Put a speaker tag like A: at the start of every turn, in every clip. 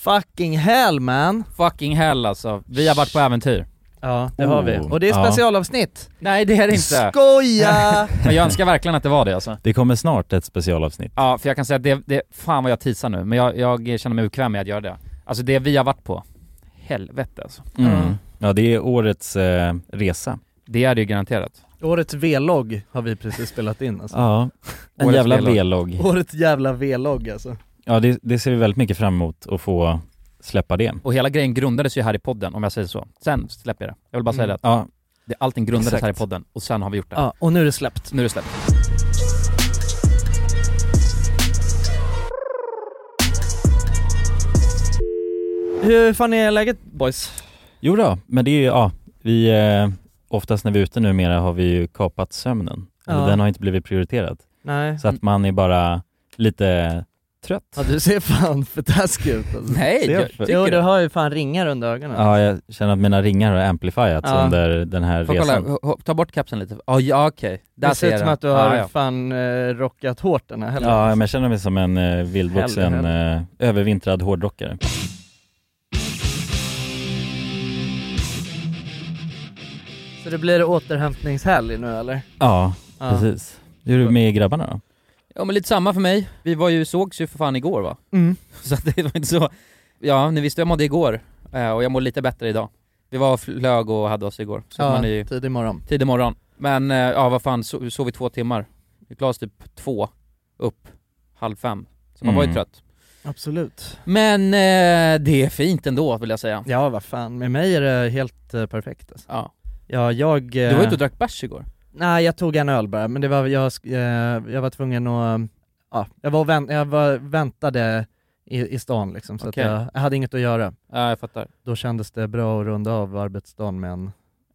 A: Fucking hell man!
B: Fucking hell alltså. Vi har varit på äventyr.
A: Ja, det har vi.
C: Oh.
A: Och det är
B: Ja.
A: specialavsnitt.
B: Nej det är det inte.
A: Skoja!
B: Men jag önskar verkligen att det var det alltså.
C: Det kommer snart ett specialavsnitt.
B: Ja, för jag kan säga att det, det fan vad jag tisar nu, men jag, jag känner mig bekväm med att göra det. Alltså det vi har varit på, helvete alltså.
A: Mm.
C: Ja, det är årets eh, resa.
B: Det är det ju garanterat.
A: Årets V-logg har vi precis spelat in alltså.
C: Ja. En
B: Årets
C: jävla
B: V-logg.
C: V-logg.
A: Årets jävla V-logg alltså.
C: Ja, det, det ser vi väldigt mycket fram emot att få släppa det.
B: Och hela grejen grundades ju här i podden, om jag säger så. Sen släpper jag det. Jag vill bara säga
A: Mm.
B: det,
C: Ja,
B: att det. Allting grundades
C: Exakt.
B: här i podden, och sen har vi gjort det.
A: Ja, och nu är det släppt.
B: Nu är det släppt.
A: Hur fan är läget boys?
C: jo då, men det är ju, ja, vi, eh, oftast när vi är ute numera har vi ju kapat sömnen. Och
A: Ja.
C: Den har inte blivit prioriterad.
A: Nej.
C: Så att man är bara lite trött.
A: Ja du ser fan för taskig ut alltså.
B: Nej,
C: Ser
B: jag
C: för-
B: tycker
A: Jo du
B: det.
A: har ju fan ringar under ögonen.
C: Ja, jag känner att mina ringar har amplifierats
A: Ja.
C: under den här
B: Får jag
C: resan.
B: kolla, ho- ho- ta bort kapseln lite. Ja, ja okej. Där
A: Det
B: ser
A: ser ut
B: jag
A: som
B: den.
A: att du har
B: Ja, ja.
A: fan eh, rockat hårt den här helgen.
C: Ja, men jag känner mig som en eh, vildvuxen,
A: Helvete.
C: eh, övervintrad hårdrockare.
A: Så det blir återhämtningshelg nu eller?
C: Ja,
A: Ja.
C: precis. Hur är det med grabbarna då?
B: Ja men lite samma för mig. Vi var ju, sågs ju för fan igår va?
A: Mm.
B: Så att det var inte så... Ja, ni visste jag mådde igår, eh, och jag mår lite bättre idag. Vi var och flög och hade oss igår, så man är ju
A: tidig morgon.
B: tidig morgon. Men eh, ja, vad fan, so- sov i två timmar. Vi klarade oss typ två, upp, halv fem. Så man var ju
C: Mm.
B: trött.
A: Absolut.
B: Men eh, det är fint ändå vill jag säga.
A: Ja vad fan, med mig är det helt eh, perfekt alltså.
B: Ja.
A: Ja, jag... eh,
B: Du var ute och drack bärs igår.
A: Nej, jag tog en öl bara, men det var, jag, sk- eh, jag var tvungen att... Ja, jag var, och vänt, jag var väntade i, i stan liksom, så
B: Okej.
A: att jag, jag hade inget att göra.
B: Ja, jag fattar.
A: Då kändes det bra att runda av arbetsdagen med en,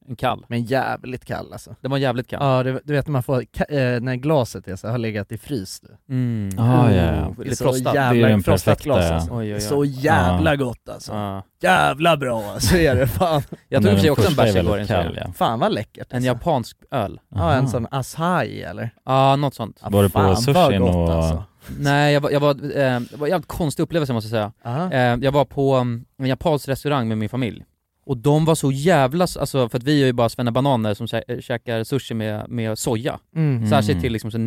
B: En kall.
A: med en jävligt kall alltså.
B: Den var jävligt kall.
A: Ja, du, du vet när man får, ka- eh, när glaset är så, har legat i frys du.
B: Mm.
C: Ah, ja.
B: Oh,
A: Det är
B: Lite
A: så
B: frostat.
C: Det är
A: jävla
C: den
A: frostat
C: perfekta-
A: glas alltså.
B: Oj, oj, oj.
A: Så jävla gott alltså.
B: Ja.
A: Jävla bra alltså är det fan.
B: Jag
C: Nej,
B: tog i och för sig också
C: den
B: en
C: första
B: bärs
C: är
B: igår.
C: väldigt
B: insåg jag.
C: kall, ja.
A: Fan vad läckert.
B: En
A: alltså.
B: japansk öl.
A: Ja, en
C: Aha.
A: sån acai eller?
B: Ja, något sånt.
A: Ja,
C: Var du på
A: fan, vad
C: sushin
A: gott,
C: och-
A: Alltså.
B: Nej, jag var, jag var, eh, det var en jävligt konstig upplevelse måste jag säga.
A: Ja.
B: Eh, jag var på mm, en japansk restaurang med min familj. Och de var så jävla, s- alltså för att vi är ju bara bananer som kä- eh, käkar sushi med, med soja.
A: Mm.
C: Mm.
B: Särskilt till liksom så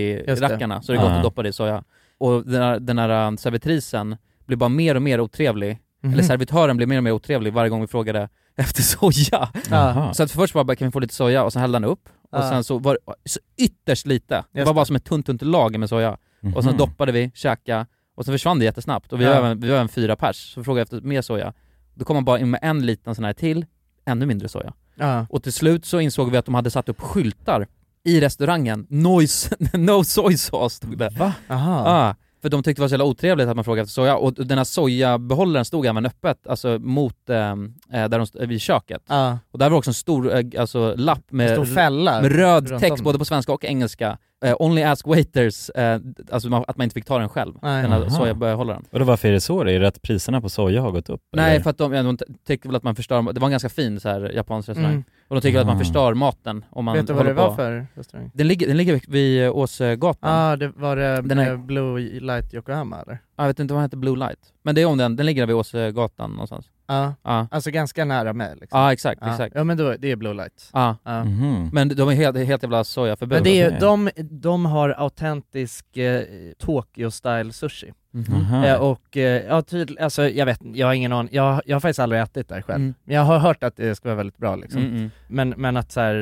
B: nigiri-rackarna, så det är gott
C: Ja.
B: att doppa det i soja. Och den här, den här um, servitrisen blev bara mer och mer otrevlig,
A: Mhm.
B: eller servitören blev mer och mer otrevlig varje gång vi frågade efter soja.
C: Jaha.
B: Så att först var det bara, kan vi få lite soja? Och sen hällde han upp, och
A: Ja.
B: sen så var det så ytterst lite. Det
A: Just
B: var
A: det.
B: bara som ett tunt, tunt lager med soja. Mm-hmm. Och sen
C: Mhm.
B: doppade vi, käkade, och sen försvann det jättesnabbt. Och vi,
A: Mm. Ja.
B: var även, vi var även fyra pers, så vi frågade efter mer soja. Då kom man bara in med en liten sån här till, ännu mindre soja.
A: Ja.
B: Och till slut så insåg vi att de hade satt upp skyltar i restaurangen, Noise, no soy sauce stod det.
C: Va?
A: Aha.
B: Ah, för de tyckte det var så jävla otrevligt att man frågade efter soja, och den här sojabehållaren stod även öppet, alltså mot, eh, eh, där de, st- vid köket.
A: Ja.
B: Och där var också en stor eh, alltså, lapp
A: Det
B: med
A: står fälla.
B: med röd
A: runt
B: text
A: om.
B: både på svenska och engelska. Eh, only ask waiters, eh, alltså man, att man inte fick ta den själv,
A: Nej.
B: den här
C: Aha.
B: sojabehållaren.
C: Och då varför är det så? då? Är det att priserna på soja har gått upp?
B: Nej
C: eller?
B: för att de, ja, de tyckte väl att man förstör, det var en ganska fin så här, japansk restaurang,
A: Mm.
B: och de tycker att man
C: Ah.
B: förstör maten om man
A: Vet du vad
B: håller
A: det var
B: på.
A: för restaurang?
B: Den ligger, den ligger vid eh, Åsögatan,
A: Ja, ah, det var det
B: Den här-
A: eh, Blue Light Yokohama eller?
B: Ah, jag vet inte vad den heter, Blue Light. Men det är om den, den ligger vid Åsögatan någonstans.
A: Ja,
B: Ja,
A: alltså ganska nära mig liksom.
B: ah. ah, exakt,
A: Ja.
B: exakt.
A: Ja men då, det är Blue Light.
B: Ah.
A: Ja.
C: Mhm.
B: Men de är helt, helt jävla sojaförbud.
A: Men det är ju,
C: Okej.
A: de, de har autentisk eh, Tokyo-style sushi.
B: Mhm.
C: Aha.
A: Eh, och eh, ja, tydl- alltså jag vet jag har ingen aning, jag, jag har faktiskt aldrig ätit där själv.
B: Mm.
A: Men jag har hört att det ska vara väldigt bra liksom.
B: Mm, mm.
A: Men, men att så här,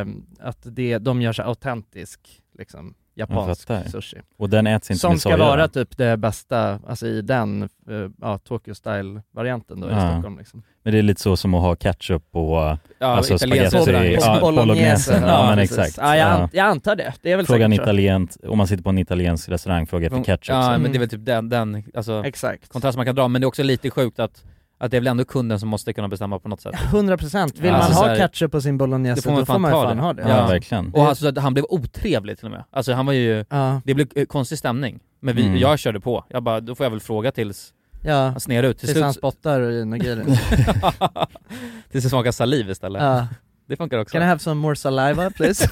A: eh, att det, de gör så här autentisk, liksom, japansk
C: Jag fattar.
A: sushi.
C: Och den äts inte
A: Som
C: med
A: ska
C: soja?
A: vara
C: då?
A: typ det bästa, alltså i den, eh, ja, Tokyo style-varianten då i
C: Ja.
A: Stockholm liksom.
C: Men det är llite så som att ha ketchup på...
B: Ja,
C: Alltså,
B: italiensk
C: spagetti-
B: restaurang.
C: ja. bolognesen.
A: Ja,
C: Ja, men
A: precis.
C: exakt.
A: Ja, jag, an-
C: Ja.
A: jag antar det. Det är väl
C: Fråga en
A: säkert så.
C: italien, om man sitter på en italiensk restaurang, fråga efter
B: Från-
C: ketchup.
B: Mm. Ja,
C: så.
B: men det
A: Mm.
B: är väl typ den, den alltså,
A: Exakt.
B: kontrast man kan dra, men det är också lite sjukt att, att det är väl ändå kunden som måste kunna bestämma på något sätt.
A: 100% vill
B: Alltså,
A: man
B: så
A: ha
B: här-
A: ketchup på sin bolognese,
B: Det får man
A: då får
B: fan
A: man ju
B: ta
A: fan
B: det.
A: ha det.
C: Ja,
B: Ja.
C: verkligen.
B: Och alltså, att han blev otrevlig till och med. Alltså han var ju,
A: Ja,
B: det blev eh, konstig stämning. Men vi,
C: Mm.
B: jag körde på. Jag bara, då får jag väl fråga tills
A: ja.
B: han snear ut. Alltså, Till
A: Tills han
B: slut,
A: spottar och grejer.
B: tills det smakar saliv istället.
A: ja.
B: Det funkar också.
A: Can I have some more saliva please?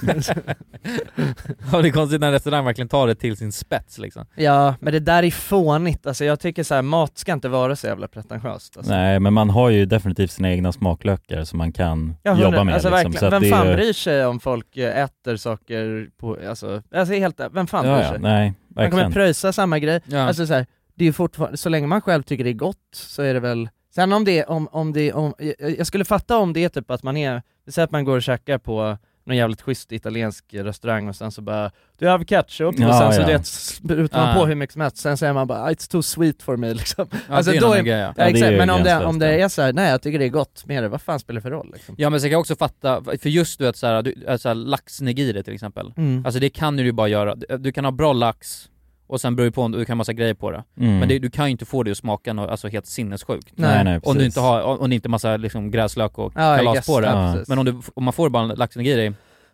B: Ja, det är konstigt när en restaurang verkligen tar det till sin spets liksom.
A: ja, men det där är fånigt, alltså jag tycker så här, mat ska inte vara så jävla pretentiöst alltså.
C: Nej men man har ju definitivt sina egna smaklökar som man kan
A: Ja,
C: jobba
A: hundra-
C: med
A: alltså,
C: liksom.
A: verkligen.
C: att
A: Vem
C: det är-
A: fan bryr sig om folk eh, äter saker på, alltså, alltså helt, vem fan
C: ja,
A: bryr sig?
C: ja, nej,
A: man kommer
C: verkligen.
A: pröjsa samma grej,
B: Ja.
A: Alltså så här, det är ju fortfarande, så länge man själv tycker det är gott så är det väl Sen om det, om, om det, om, jag- jag skulle fatta om det är typ att man är, säg att man går och käkar på någon jävligt schysst italiensk restaurang och sen så bara Du har ketchup och
C: Ja,
A: sen så
C: ja.
A: du vet, sprutar man
B: Ah.
A: på hur mycket som helst, sen säger man bara "Ah, it's too sweet for me liksom
B: ja,
A: alltså,
B: det är
A: då
B: en
A: är-
B: annan grej ja.
C: Ja,
A: ja,
C: det är
A: exakt,
C: ju
A: Men om det,
C: gränslöst,
A: om det
C: ja.
A: är så här, nej jag tycker det är gott med det, vad fan spelar det för roll liksom?
B: Ja men sen kan jag också fatta, för just du vet såhär, du, alltså, laxnigiri till exempel.
A: Mm.
B: Alltså det kan du ju bara göra, Du- du kan ha bra lax och sen beror det på om du kan ha massa grejer på det.
C: Mm.
B: Men det, du kan ju inte få det att smaka nå- alltså, helt sinnessjukt.
C: nej, nej,
B: Om
C: precis.
B: du inte har, om det inte är massa liksom, gräslök och
A: Ja, I
B: kalas
A: guess,
B: på det.
C: Ja.
A: precis.
B: Men om, du, om man får bara en laxnigiri,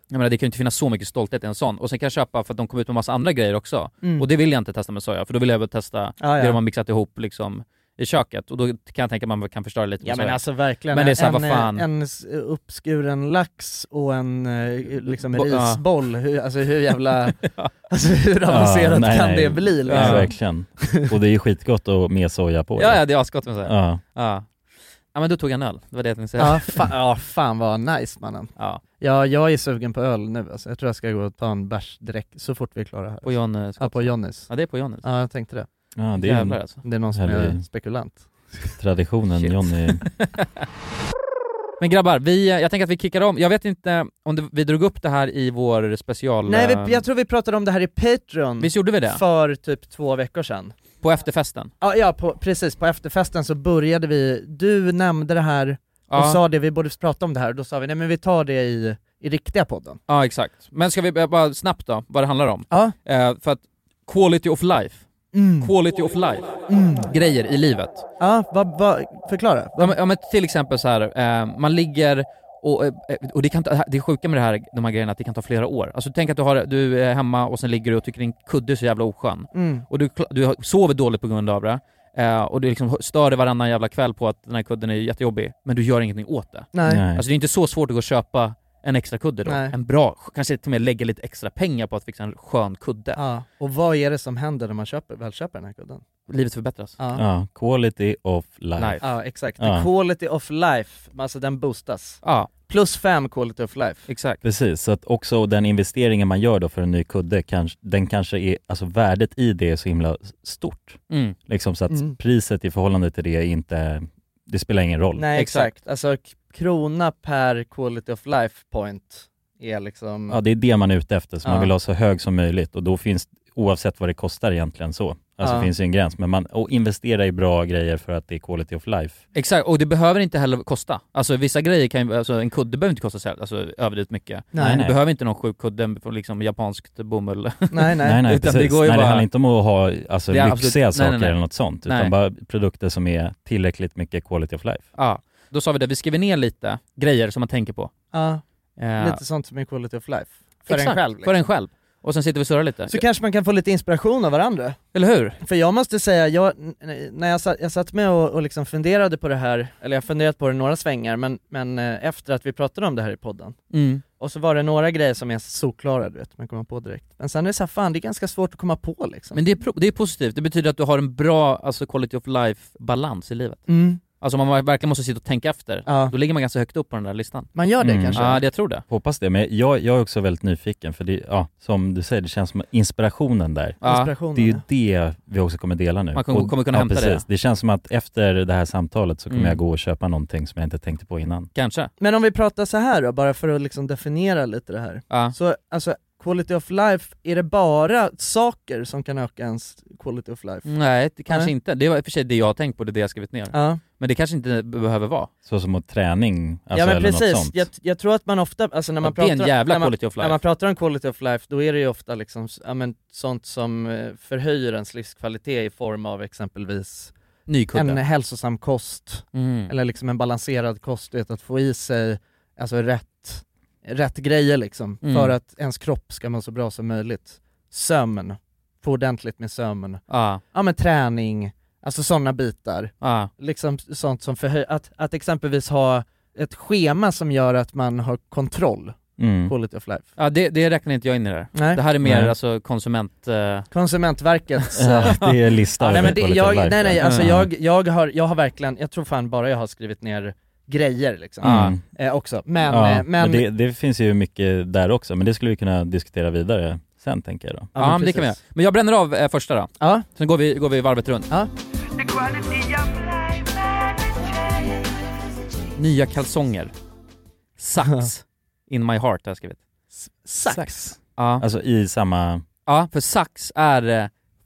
B: jag menar det kan ju inte finnas så mycket stolthet i en sån. Och sen kan jag köpa för att de kommer ut med massa andra grejer också.
A: Mm.
B: Och det vill jag inte testa med soja, för då vill jag väl testa
A: ja,
B: det de
A: ja.
B: har mixat ihop liksom i köket. Och då kan jag tänka mig att man kan förstöra lite med
A: Ja men
B: soja.
A: alltså verkligen,
B: Men det är så här,
A: en,
B: vad fan.
A: en s- uppskuren lax och en eh, liksom
B: Bo- ja.
A: risboll, hur, alltså hur jävla,
B: Ja.
A: alltså hur avancerat
C: nej,
A: kan
C: nej.
A: det bli
C: Ja,
A: liksom?
B: Ja.
C: verkligen. Och det är ju skitgott och med soja på liksom.
B: Ja,
C: det.
B: ja det är asgott med soja. Ja.
C: ja.
B: ja. men då tog jag en öl, det var det jag tänkte säga.
A: Ja, fan, ja fan vad nice mannen.
B: Ja.
A: Ja jag är sugen på öl nu alltså. jag tror jag ska gå och ta en bärs direkt så fort vi är klara här.
B: På John eh,
A: Ja
B: Scott.
A: på Johnnys.
B: Ja det är på John.
A: Ja jag tänkte det.
C: ja, det är
B: Jävlar
C: ju
B: alltså.
A: Det är någon som är
C: Eller-
A: spekulant.
C: traditionen
B: Shit.
C: Johnny.
B: Men grabbar, vi, eh, jag tänker att vi kickar om. Jag vet inte om det, vi drog upp det här i vår special...
A: Nej
B: eh,
A: vi, jag tror vi pratade om det här i Patreon
B: Visst gjorde vi det?
A: för typ två veckor sedan.
B: På efterfesten?
A: Ja, ja på, precis, på efterfesten så började vi, du nämnde det här och
B: Ja,
A: sa det, vi borde prata om det här, och då sa vi nej men vi tar det i, i riktiga podden.
B: ja exakt. Men ska vi eh, bara snabbt då, vad det handlar om?
A: Ja.
B: Eh, för att quality of life,
A: Mm.
B: quality of life, grejer i livet.
A: Ja, vad, vad, förklara.
B: Ja men, ja, men till exempel så här, eh, man ligger och, eh, och det, kan ta, det är sjuka med det här, de här grejerna att det kan ta flera år. Alltså tänk att du, har, du är hemma och sen ligger du och tycker din kudde är så jävla oskön.
A: Mm.
B: Och du, kla- du har- sover dåligt på grund av det. Eh, och du liksom stör dig varannan jävla kväll på att den här kudden är jättejobbig, men du gör ingenting åt det.
A: Nej.
C: Nej.
B: Alltså det är inte så svårt att gå och köpa en extra kudde då.
A: Nej.
B: En bra, kanske till och med lägga lite extra pengar på att fixa en skön kudde.
A: Ja. Och vad är det som händer när man köper, väl köper den här kudden?
B: Livet förbättras.
A: Ja, ja.
C: ja, quality of life.
B: Life.
A: exakt.
C: Ja.
A: The quality of life, alltså den boostas.
B: Ja,
A: Plus fem quality of life.
B: exakt.
C: Precis, så att också den investeringen man gör då för en ny kudde, kanske, den kanske är, alltså värdet i det är så himla stort.
B: Mm.
C: Liksom så att
A: Mm.
C: priset i förhållande till det är inte, det spelar ingen roll.
A: Nej exakt,
B: Exakt.
A: alltså k- krona per quality of life point är liksom,
C: Ja, det är det man är ute efter, så
A: Ja.
C: man vill ha så hög som möjligt och då finns, oavsett vad det kostar egentligen så, alltså
A: Ja.
C: finns ju en gräns, men man och investera i bra grejer för att det är quality of life.
B: Exakt, och det behöver inte heller kosta. Alltså vissa grejer kan ju, alltså en kudde behöver inte kosta så här, alltså, överdrivet mycket.
A: nej,
B: Du
A: nej,
C: nej.
B: behöver inte någon sjuk kudde från liksom japanskt bomull.
A: nej,
C: Nej, nej,
B: Utan det
C: precis.
B: går ju
C: nej,
B: bara-
C: det handlar inte om att ha alltså,
B: Det är absolut-
C: lyxiga
B: nej, nej,
C: saker
B: nej.
C: eller något sånt,
B: Nej.
C: utan bara produkter som är tillräckligt mycket quality of life.
B: ja. Då sa vi det, vi skriver ner lite grejer som man tänker på.
A: Ja,
B: Eh,
A: lite sånt som är quality of life. För en
B: exakt,
A: själv liksom.
B: För en själv. Och sen sitter vi och surrar lite.
A: Så kanske man kan få lite inspiration av varandra.
B: Eller hur?
A: För jag måste säga, jag, n- n- när jag satt, jag satt med och, och liksom funderade på det här, eller jag har funderat på det några svängar, men, men eh, efter att vi pratade om det här i podden,
B: Mm.
A: och så var det några grejer som är solklara du vet, man kommer på direkt. Men sen är det så här, fan det är ganska svårt att komma på liksom.
B: Men det är, pro- det är positivt, det betyder att du har en bra alltså, quality of life-balans i livet.
A: Mm.
B: Alltså om man verkligen måste sitta och tänka efter,
A: Ja,
B: då ligger man ganska högt upp på den där listan.
A: man gör det
C: Mm.
A: kanske.
B: Ja, det jag tror det.
C: Hoppas det, men jag, jag är också väldigt nyfiken för det, ja, som du säger, det känns som inspirationen där.
B: Ja.
A: Inspirationen.
C: Det är ju det vi också kommer dela nu.
B: Mm. Man kommer- kommer kunna
C: ja,
B: hämta det.
C: precis. Det känns som att efter det här samtalet så kommer
B: Mm.
C: jag gå och köpa någonting som jag inte tänkte på innan.
B: Kanske.
A: Men om vi pratar så här då, bara för att liksom definiera lite det här.
B: Ja.
A: Så alltså, quality of life, är det bara saker som kan öka ens quality of life?
B: Nej, det kanske
A: Nej.
B: inte. Det var i och för sig det jag har tänkt på, det är det jag har skrivit ner.
A: Ja.
B: Men det kanske inte behöver vara.
C: Så som att träning, alltså,
A: ja men
C: eller något
A: precis,
C: sånt.
A: jag, jag tror att man ofta, alltså när man
B: det är
A: pratar
B: en jävla
A: när man,
B: quality of
A: när
B: life.
A: man pratar om quality of life, då är det ju ofta liksom, s- ja, men, sånt som eh, förhöjer ens livskvalitet i form av exempelvis
B: Ny
A: en
B: kudde.
A: hälsosam kost,
B: Mm.
A: eller liksom en balanserad kost, vet, att få i sig alltså, rätt, rätt grejer liksom,
B: Mm.
A: för att ens kropp ska må så bra som möjligt. Sömn, få ordentligt med sömn,
B: Ja,
A: ja men träning, alltså sådana bitar
B: ja,
A: liksom sånt som förhöjer, att, att exempelvis ha ett schema som gör att man har kontroll,
C: Mm.
A: quality of life.
B: Ja, det, det räknar inte jag in i det här.
A: Nej.
B: Det här är mer
C: Nej.
B: alltså konsument... eh,
A: Konsumentverkets... eh,
C: Ja, det är lista
A: Ja, nej,
C: över
A: men det,
C: quality
A: jag,
C: of life,
A: nej nej,
C: ja.
A: alltså
B: Mm.
A: jag, jag, har, jag har verkligen, jag tror fan bara jag har skrivit ner grejer liksom,
B: Ja.
C: Mm.
A: eh, också. Men,
C: Ja,
A: eh, men,
C: det, det finns ju mycket där också, men det skulle vi kunna diskutera vidare sen tänker jag då.
B: ja, men det kan vi göra.
A: precis.
B: Men jag bränner av eh, första då.
A: Ja,
B: Sen går vi, går vi varvet runt.
A: Ja.
D: The quality of life and it changes.
B: Nya kalsonger. Sax. In my heart har jag skrivit.
A: S- sax.
B: Ja.
C: Alltså i samma...
B: Ja, för sax är... eh,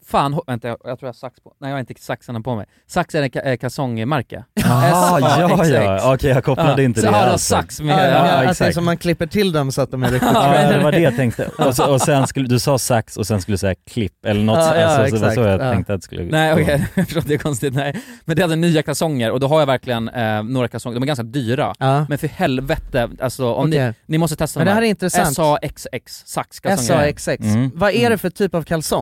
B: Fan, ho- vänta, jag, jag tror jag har sax på... Nej, jag har inte saxarna på mig. Sax är en ka- eh, kalsongmärke.
C: Ah, ja,
B: exakt.
C: ja. Okej, jag kopplade inte
B: så
C: det
B: har de
C: alls.
B: sax med...
A: Ja, Alltså. ja,
C: ja,
A: ja, att det är
C: exakt.
A: som man klipper till dem så att de är riktigt
C: Ja, det var det jag tänkte. Och, så, och sen skulle, du sa sax och sen skulle du säga klipp eller något
A: Ja,
C: så,
A: ja,
C: alltså, så det var så jag
A: exakt, ja.
C: tänkte att det skulle
B: Nej okej, jag förstår att det är konstigt. Nej. Men det är alltså nya kalsonger och då har jag verkligen eh, några kalsonger, de är ganska dyra.
A: Ja,
B: Men för helvete, alltså om ni,
A: okej.
B: ni måste testa
A: Men det
B: de
A: här är intressant.
B: SAXX, saxkalsonger.
A: SAXX.
C: Mm.
A: Vad är det för typ av kalsong?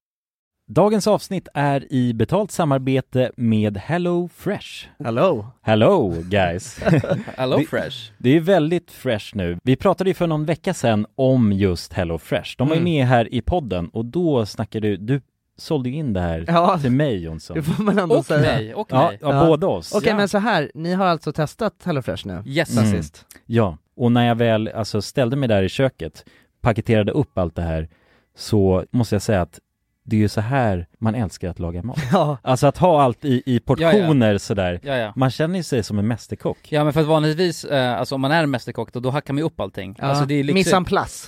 C: Dagens avsnitt är i betalt samarbete med Hello Fresh.
A: Hello!
C: Hello guys!
B: Hello
C: Det-
B: Fresh.
C: Det är väldigt fresh nu. Vi pratade ju för någon vecka sedan om just Hello Fresh. De var
A: Mm.
C: ju med här i podden och då snackade du, du sålde ju in det här
A: Ja,
C: till mig Jonsson.
A: det får man ändå
B: Och
A: säga.
B: mig, och
C: Ja,
B: mig.
C: ja,
A: Ja.
C: båda oss.
A: Okej
B: Ja.
A: men så här, ni har alltså testat HelloFresh nu?
B: Yes.
A: Sen
C: Mm.
A: sist?
C: Ja, och när jag väl alltså, ställde mig där i köket, paketerade upp allt det här, så måste jag säga att det är ju så här man älskar att laga mat.
A: Ja.
C: Alltså att ha allt i, i portioner sådär.
B: Ja, ja.
C: Man känner ju sig som en mästerkock.
B: Ja men för att vanligtvis, eh, alltså om man är mästerkock då, då hackar man ju upp allting. Alltså det är lyxigt.
A: Missan plus.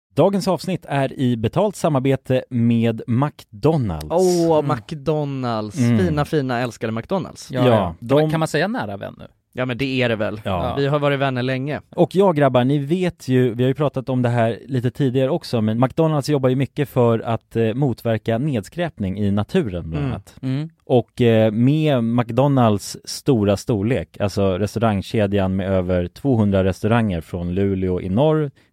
C: Dagens avsnitt är i betalt samarbete med McDonalds.
A: Åh,
B: Mm.
A: McDonalds.
C: Mm.
A: Fina, fina, älskade McDonalds.
B: Ja,
C: Ja,
B: ja.
C: de-
B: Kan man säga nära vän nu?
A: Ja men det är det väl.
C: Ja.
A: Vi har varit vänner länge.
C: Och ja grabbar, ni vet ju, vi har ju pratat om det här lite tidigare också, men McDonalds jobbar ju mycket för att eh, motverka nedskräpning i naturen bland
A: Mm.
C: annat. Och eh, med McDonalds stora storlek, alltså restaurangkedjan med över 200 restauranger från Luleå i norr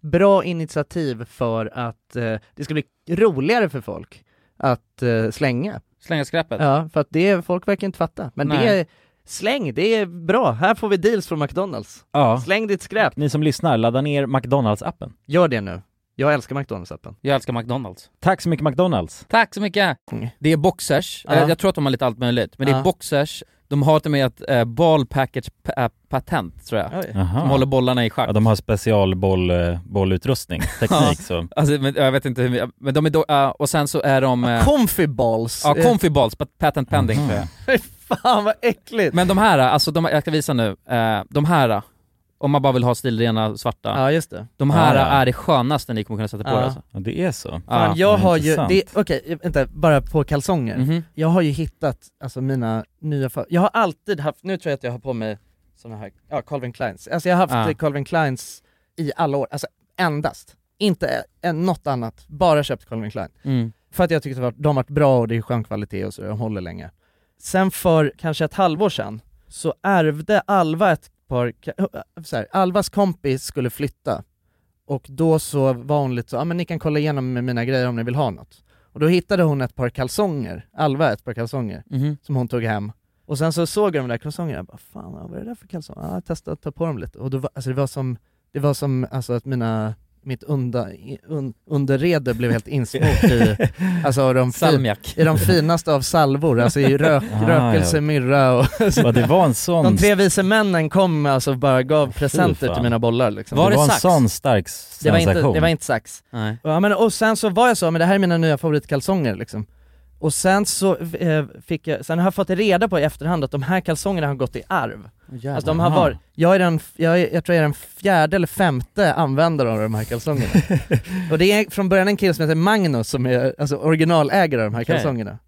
A: bra initiativ för att eh, det ska bli roligare för folk att eh, slänga.
B: Slänga skräpet.
A: Ja, för att det, folk verkar inte fatta. Men det
B: Nej.
A: är, släng, det är bra. Här får vi deals från McDonalds.
C: Ja.
A: Släng ditt skräp.
C: Ni som lyssnar, ladda ner McDonalds-appen.
A: Gör det nu. Jag älskar McDonalds-appen.
B: Jag älskar McDonalds.
C: Tack så mycket McDonalds!
B: Tack så mycket!
A: Mm.
B: Det är boxers,
A: Ja.
B: jag, jag tror att de har lite allt möjligt, men det
A: Ja.
B: är boxers, de har till och med ett eh, ball package p- eh, patent tror jag,
C: Aha.
B: som håller bollarna i schack.
C: Ja, de har specialboll, eh, bollutrustning,
B: Ja.
C: teknik så.
B: Alltså, men, jag vet inte hur, mycket- men de är då, ja, och sen så är de... eh,
A: Comfy balls!
B: Ja, comfy balls, pat- patent
C: Mm.
B: pending tror jag.
A: Eh, Fan vad äckligt!
B: Men de här, alltså de, jag ska visa nu, eh, de här, om man bara vill ha stilrena svarta,
A: Ja just det.
B: de här
C: Ja, ja.
B: är det skönaste ni kommer kunna sätta på
A: Ja.
B: er alltså.
C: Ja, det är så.
A: Fan,
B: Ja.
A: jag
C: vad
A: har ju, det,
C: intressant.
A: okej, vänta, bara på kalsonger.
B: Mhm.
A: Jag har ju hittat, alltså mina nya fa- jag har alltid haft, nu tror jag att jag har på mig såna här, ja Calvin Kleins, alltså jag har haft
B: Ah.
A: eh, Calvin Kleins i alla år, alltså endast. Inte eh, något annat, bara köpt Calvin Klein.
B: Mm.
A: För att jag tyckte att de har varit bra och det är skön kvalitet och så, de håller länge. Sen för kanske ett halvår sedan så ärvde Alva ett par, ka- eh, så här, Alvas kompis skulle flytta och då så var hon lite så, ja ah, men ni kan kolla igenom med mina grejer om ni vill ha något. Och då hittade hon ett par kalsonger, Alva ett par kalsonger,
B: Mhm.
A: som hon tog hem. Och sen så såg jag de där kalsongerna, jag bara, fan vad är det där för kalsonger? Ja, jag testade att ta på dem lite. Och då var, alltså det var som, det var som alltså att mina, mitt unda, un, underrede blev helt insmort i, alltså av de, fi,
B: Salmiak.
A: i de finaste av salvor, alltså i rök,
C: Ah,
A: rökelse,
C: ja.
A: myrra och
C: Ja, det var en sån
A: de tre vise männen kom alltså och bara gav presenter
C: fan.
A: till mina bollar liksom.
B: Var
C: det
B: det
C: var en
B: sax?
C: sån stark
A: det, var
C: sensation.
A: inte, det var inte sax.
B: Nej.
A: Ja, men, och sen så var jag så, men det här är mina nya favoritkalsonger liksom. Och sen så eh, fick jag, sen har jag fått reda på i efterhand att de här kalsongerna har gått i arv. Alltså de har
C: Aha.
A: varit, jag är den, f- jag, är, jag tror jag är den fjärde eller femte användaren av de här kalsongerna. och det är från början en kille som heter Magnus som är alltså, originalägare av de här
B: Okej.
A: kalsongerna.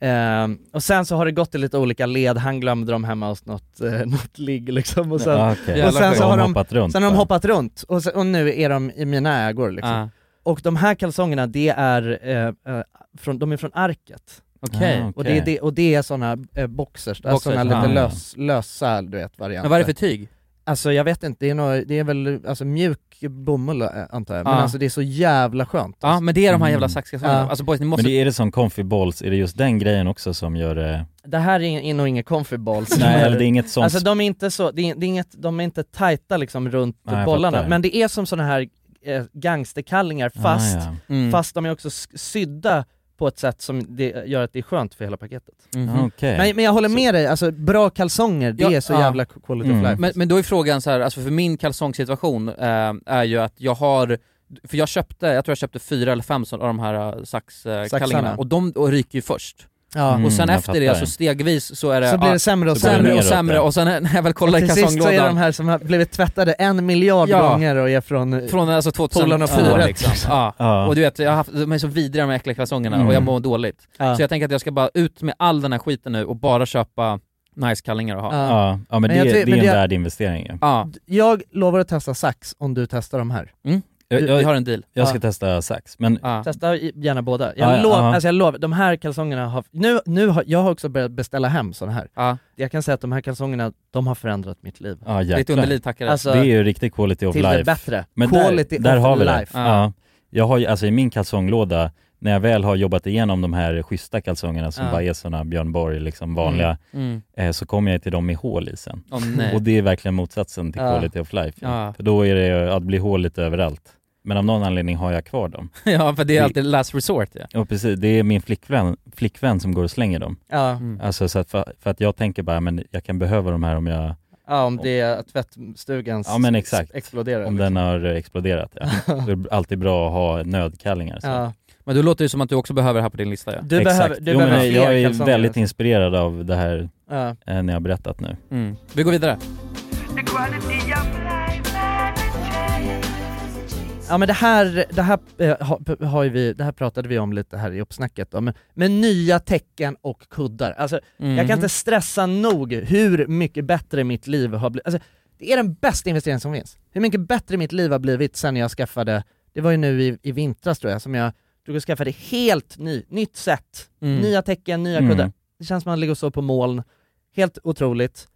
A: Ehm, och sen så har det gått i lite olika led, han glömde dem hemma hos något, eh, något ligg liksom. Och sen,
C: Ja, okej.
B: jävla
A: och sen så
B: skit.
A: har de,
C: hoppat runt
A: sen har de
C: där.
A: hoppat runt och, sen, och nu är de i mina ägor liksom.
B: Ah.
A: Och de här kalsongerna, det är, eh, eh, från, de är från Arket.
B: Okej.
C: Ah,
A: Och, det,
C: okej.
A: är det, och det är såna eh, boxers, boxers
B: Boxers,
A: såna
B: ah,
A: lite
C: ja.
A: lös, lösa du vet, varianter.
B: Men vad är det för tyg?
A: Alltså jag vet inte, det är, nå det är väl alltså, mjuk bomull eh, antar jag, men
B: Ja.
A: alltså det är så jävla skönt.
B: Ja men det är de här jävla
C: Mm.
B: saxkalsongerna,
A: Ja.
B: alltså boys ni måste...
C: Men det är det som comfy balls, är det just den grejen också som gör det
A: det här är in- nog inga comfy balls.
C: Nej, eller det är inget sånt.
A: Alltså de är inte så, det är, det är inget, de är inte tajta liksom runt
C: Nej, jag
A: bollarna,
C: fattar.
A: men det är som sådana här eh, gangsterkallingar fast,
C: Ah, ja.
B: Mm.
A: fast de är också s- sydda på ett sätt som det gör att det är skönt för hela paketet.
B: Mhm.
C: Okej.
A: Men, men jag håller med dig, alltså bra kalsonger, det
B: Ja,
A: är så
B: ja.
A: jävla quality
C: Mm.
A: of life.
B: Men, men då är frågan så här, alltså för min kalsongsituation eh, är ju att jag har för jag köpte, jag tror jag köpte fyra eller fem sån- av de här eh, saxkallingarna
A: Saxarna.
B: och de och ryker ju först.
A: ja.
C: Mm.
B: och sen
C: jag
B: efter det,
C: fattar.
B: alltså stegvis så är det
A: så blir
B: ja,
A: det sämre och
C: så blir det
A: sämre.
B: sämre och
C: neråt,
B: sämre
C: ja.
B: och sen när jag väl kollar i
A: Till sist så är det de
B: kalsonglådan,
A: här som har blivit tvättade en miljard
B: Ja.
A: gånger och är från...
B: från alltså
A: Polarna och
B: 2004
A: fyret.
B: liksom. ja.
C: Ja.
B: Och du vet, jag har haft, de är så vidriga de här äckliga kalsongerna
C: Mm.
B: och jag mår dåligt.
A: Ja.
B: Så jag tänker att jag ska bara ut med all den här skiten nu och bara köpa nice kallingar och ha. Ja.
A: Ja.
C: Ja, ja men,
A: Men jag
C: det,
A: tycker-
C: det är
A: men
C: en
A: det-
C: värd investering ja.
A: Jag lovar att testa sax om du testar de här.
C: jag,
B: vi, vi har
C: jag,
B: en deal.
C: jag ska testa sax, men
B: Ja.
A: Testa i- gärna båda. Jag
C: Ja, ja,
A: lovar,
C: ja.
A: alltså jag lovar, de här kalsongerna har, nu, nu har, jag har också börjat beställa hem såna här.
B: Ja.
A: Jag kan säga att de här kalsongerna, de har förändrat mitt liv.
C: ja
B: Ditt
C: jäklar.
B: underliv tackar
A: Alltså,
C: Det är ju riktig quality of
A: till
C: life.
A: det bättre.
C: Men
A: Quality
C: där, där
A: of
C: har vi
A: life.
C: det. Ja. Jag har ju, alltså i min kalsonglåda, när jag väl har jobbat igenom de här schyssta kalsongerna som
B: Ja.
C: bara är sådana Björn Borg, liksom vanliga,
B: Mm.
C: eh, så kommer jag till dem med hål i sen.
B: Åh nej.
C: Och det är verkligen motsatsen till
A: Ja.
C: quality of life.
B: Ja.
C: För då är det ju att bli hål lite överallt. Men av någon anledning har jag kvar dem.
B: ja, för det är alltid last resort ja.
C: Och precis, det är min flickvän, flickvän som går och slänger dem.
A: Ja.
B: Mm.
C: Alltså så att för, för att jag tänker bara, men jag kan behöva de här om, jag,
A: ja, om det är tvättstugans
C: Ja, men exakt.
A: exploderar.
C: om den har exploderat. Ja. Då är det alltid bra att ha nödkallingar. Så.
A: ja.
B: Men du låter ju som att du också behöver det här på din lista ja.
A: Du
C: Exakt.
A: behöver, du
C: jo,
A: behöver
C: men
A: fler
C: jag är
A: kalsonger.
C: väldigt inspirerad av det här
A: ja.
C: eh, ni har berättat nu.
B: Mm. Vi går vidare.
D: The quality of life and the change.
A: Ja men det här, det här, eh, ha- p- har ju vi, det här pratade vi om lite här i uppsnacket då, men, men nya tecken och kuddar. Alltså, jag
C: Mm.
B: Mm.
A: kan inte stressa nog hur mycket bättre mitt liv har blivit. Alltså, det är den bästa investeringen som finns. Hur mycket bättre mitt liv har blivit sen jag skaffade, det var ju nu i, i vintras tror jag, som jag drog och skaffade helt ny, nytt sätt,
B: Mm.
A: nya tecken, nya
C: Mm.
A: kuddar. Det känns som att man ligger och sover på moln, helt otroligt.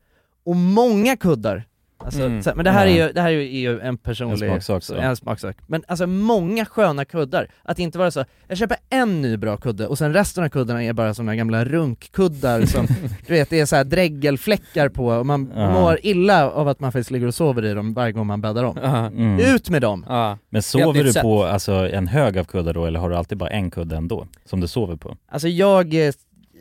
A: Och många kuddar. Alltså,
B: Mm.
A: så, men det här, är
C: Ja.
A: ju, det här är ju- är ju en
C: En
A: personlig
C: smaksak så.
A: en smaksak. Men alltså många sköna kuddar. Att inte vara så, jag köper en ny bra kudde och sen resten av kuddarna är bara såna gamla runkkuddar som, du vet, det är så här dräggelfläckar på och man
C: Ja.
A: mår illa av att man faktiskt ligger och sover i dem varje gång man bäddar om.
B: Ja.
C: Mm.
A: Ut med dem!
B: Ja.
C: Men
B: Helt
C: sover
B: nytt
C: du
B: sätt.
C: på alltså, en hög av kuddar då, eller har du alltid bara en kudde ändå? Som du sover på?
A: Alltså jag, eh,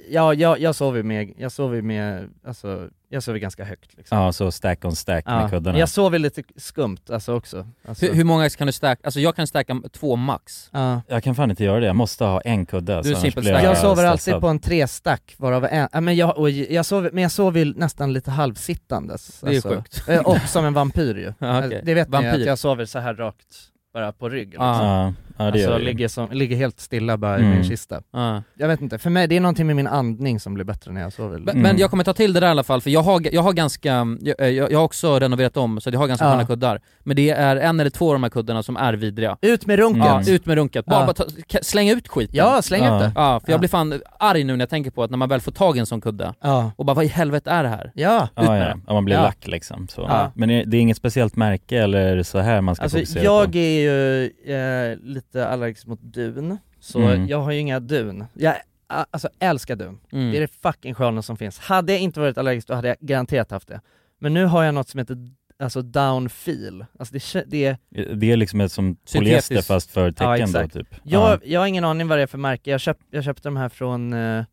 A: ja, jag, jag sover med, jag sover med, alltså, jag sover ganska högt liksom.
C: Ja, så stack on stack med
A: Ja.
C: kuddarna.
A: Jag sover lite skumt alltså också. Alltså,
B: Hur, hur många kan du stacka? Alltså jag kan stacka två max.
A: ja.
C: Jag kan fan inte göra det, jag måste ha en kudde.
B: är
C: så annars
B: simpel
C: blir
B: stack.
A: Jag sover alltid
C: stressad.
A: på en trestack varav en, ja, men jag, och jag sover, men jag sover ju nästan lite halvsittandes.
B: Det är ju
A: alltså.
B: sjukt.
A: Eh, Och som en vampyr ju.
B: Ja, okej.
A: Alltså, Det vet ni
B: Vampyr.
A: att jag sover så här rakt, bara på ryggen.
B: Ja.
A: liksom.
C: Ja, Ah, ja det
A: alltså
C: gör
A: jag
C: du.
A: ligger, som, ligger helt stilla bara i
C: Mm.
A: min kista.
B: Ja.
A: Jag vet inte, för mig, det är någonting med min andning som blir bättre när jag sover.
B: Men,
C: Mm.
B: men jag kommer ta till det där i alla fall, för jag har, jag har ganska, jag, eh, jag jag har också renoverat om så jag har ganska
A: Ja.
B: sköna kuddar. Men det är en eller två av de här kuddarna som är vidriga.
A: Ut med runken!
B: Ja,
A: Ja,
B: ut med runket. Bara,
A: Mm. Ja.
B: bara ta, ka- släng ut skiten.
A: släng
C: Mm. Ja.
A: ut det!
B: Ja, för jag
A: Ja.
B: blir fan arg nu när jag tänker på att när man väl får tag i en sån kudde
A: Ja.
B: och bara vad i helvete är det här?
A: ja.
C: Ja,
B: med
C: ja.
B: den.
C: ja, man blir
A: Ja.
C: lack liksom. Så.
A: Ja.
C: Men är- det är inget speciellt märke eller så här man ska
A: Alltså
C: fokusera
A: jag
C: på?
A: är ju eh, lite allergisk mot dun, så
C: Mm.
A: jag har ju inga dun. Jag a- alltså, älskar dun.
B: Mm.
A: Det är det fucking sköna som finns. Hade jag inte varit allergisk då hade jag garanterat haft det. Men nu har jag något som heter alltså downfeel. Alltså det, kä- det är,
C: Det är liksom ett som polyester
B: Syntetiskt.
C: fast för
A: Ja,
C: tecken då
A: exakt.
C: typ.
A: jag, jag har ingen aning vad det är för märke, jag, köp, jag köpte de här från, eh,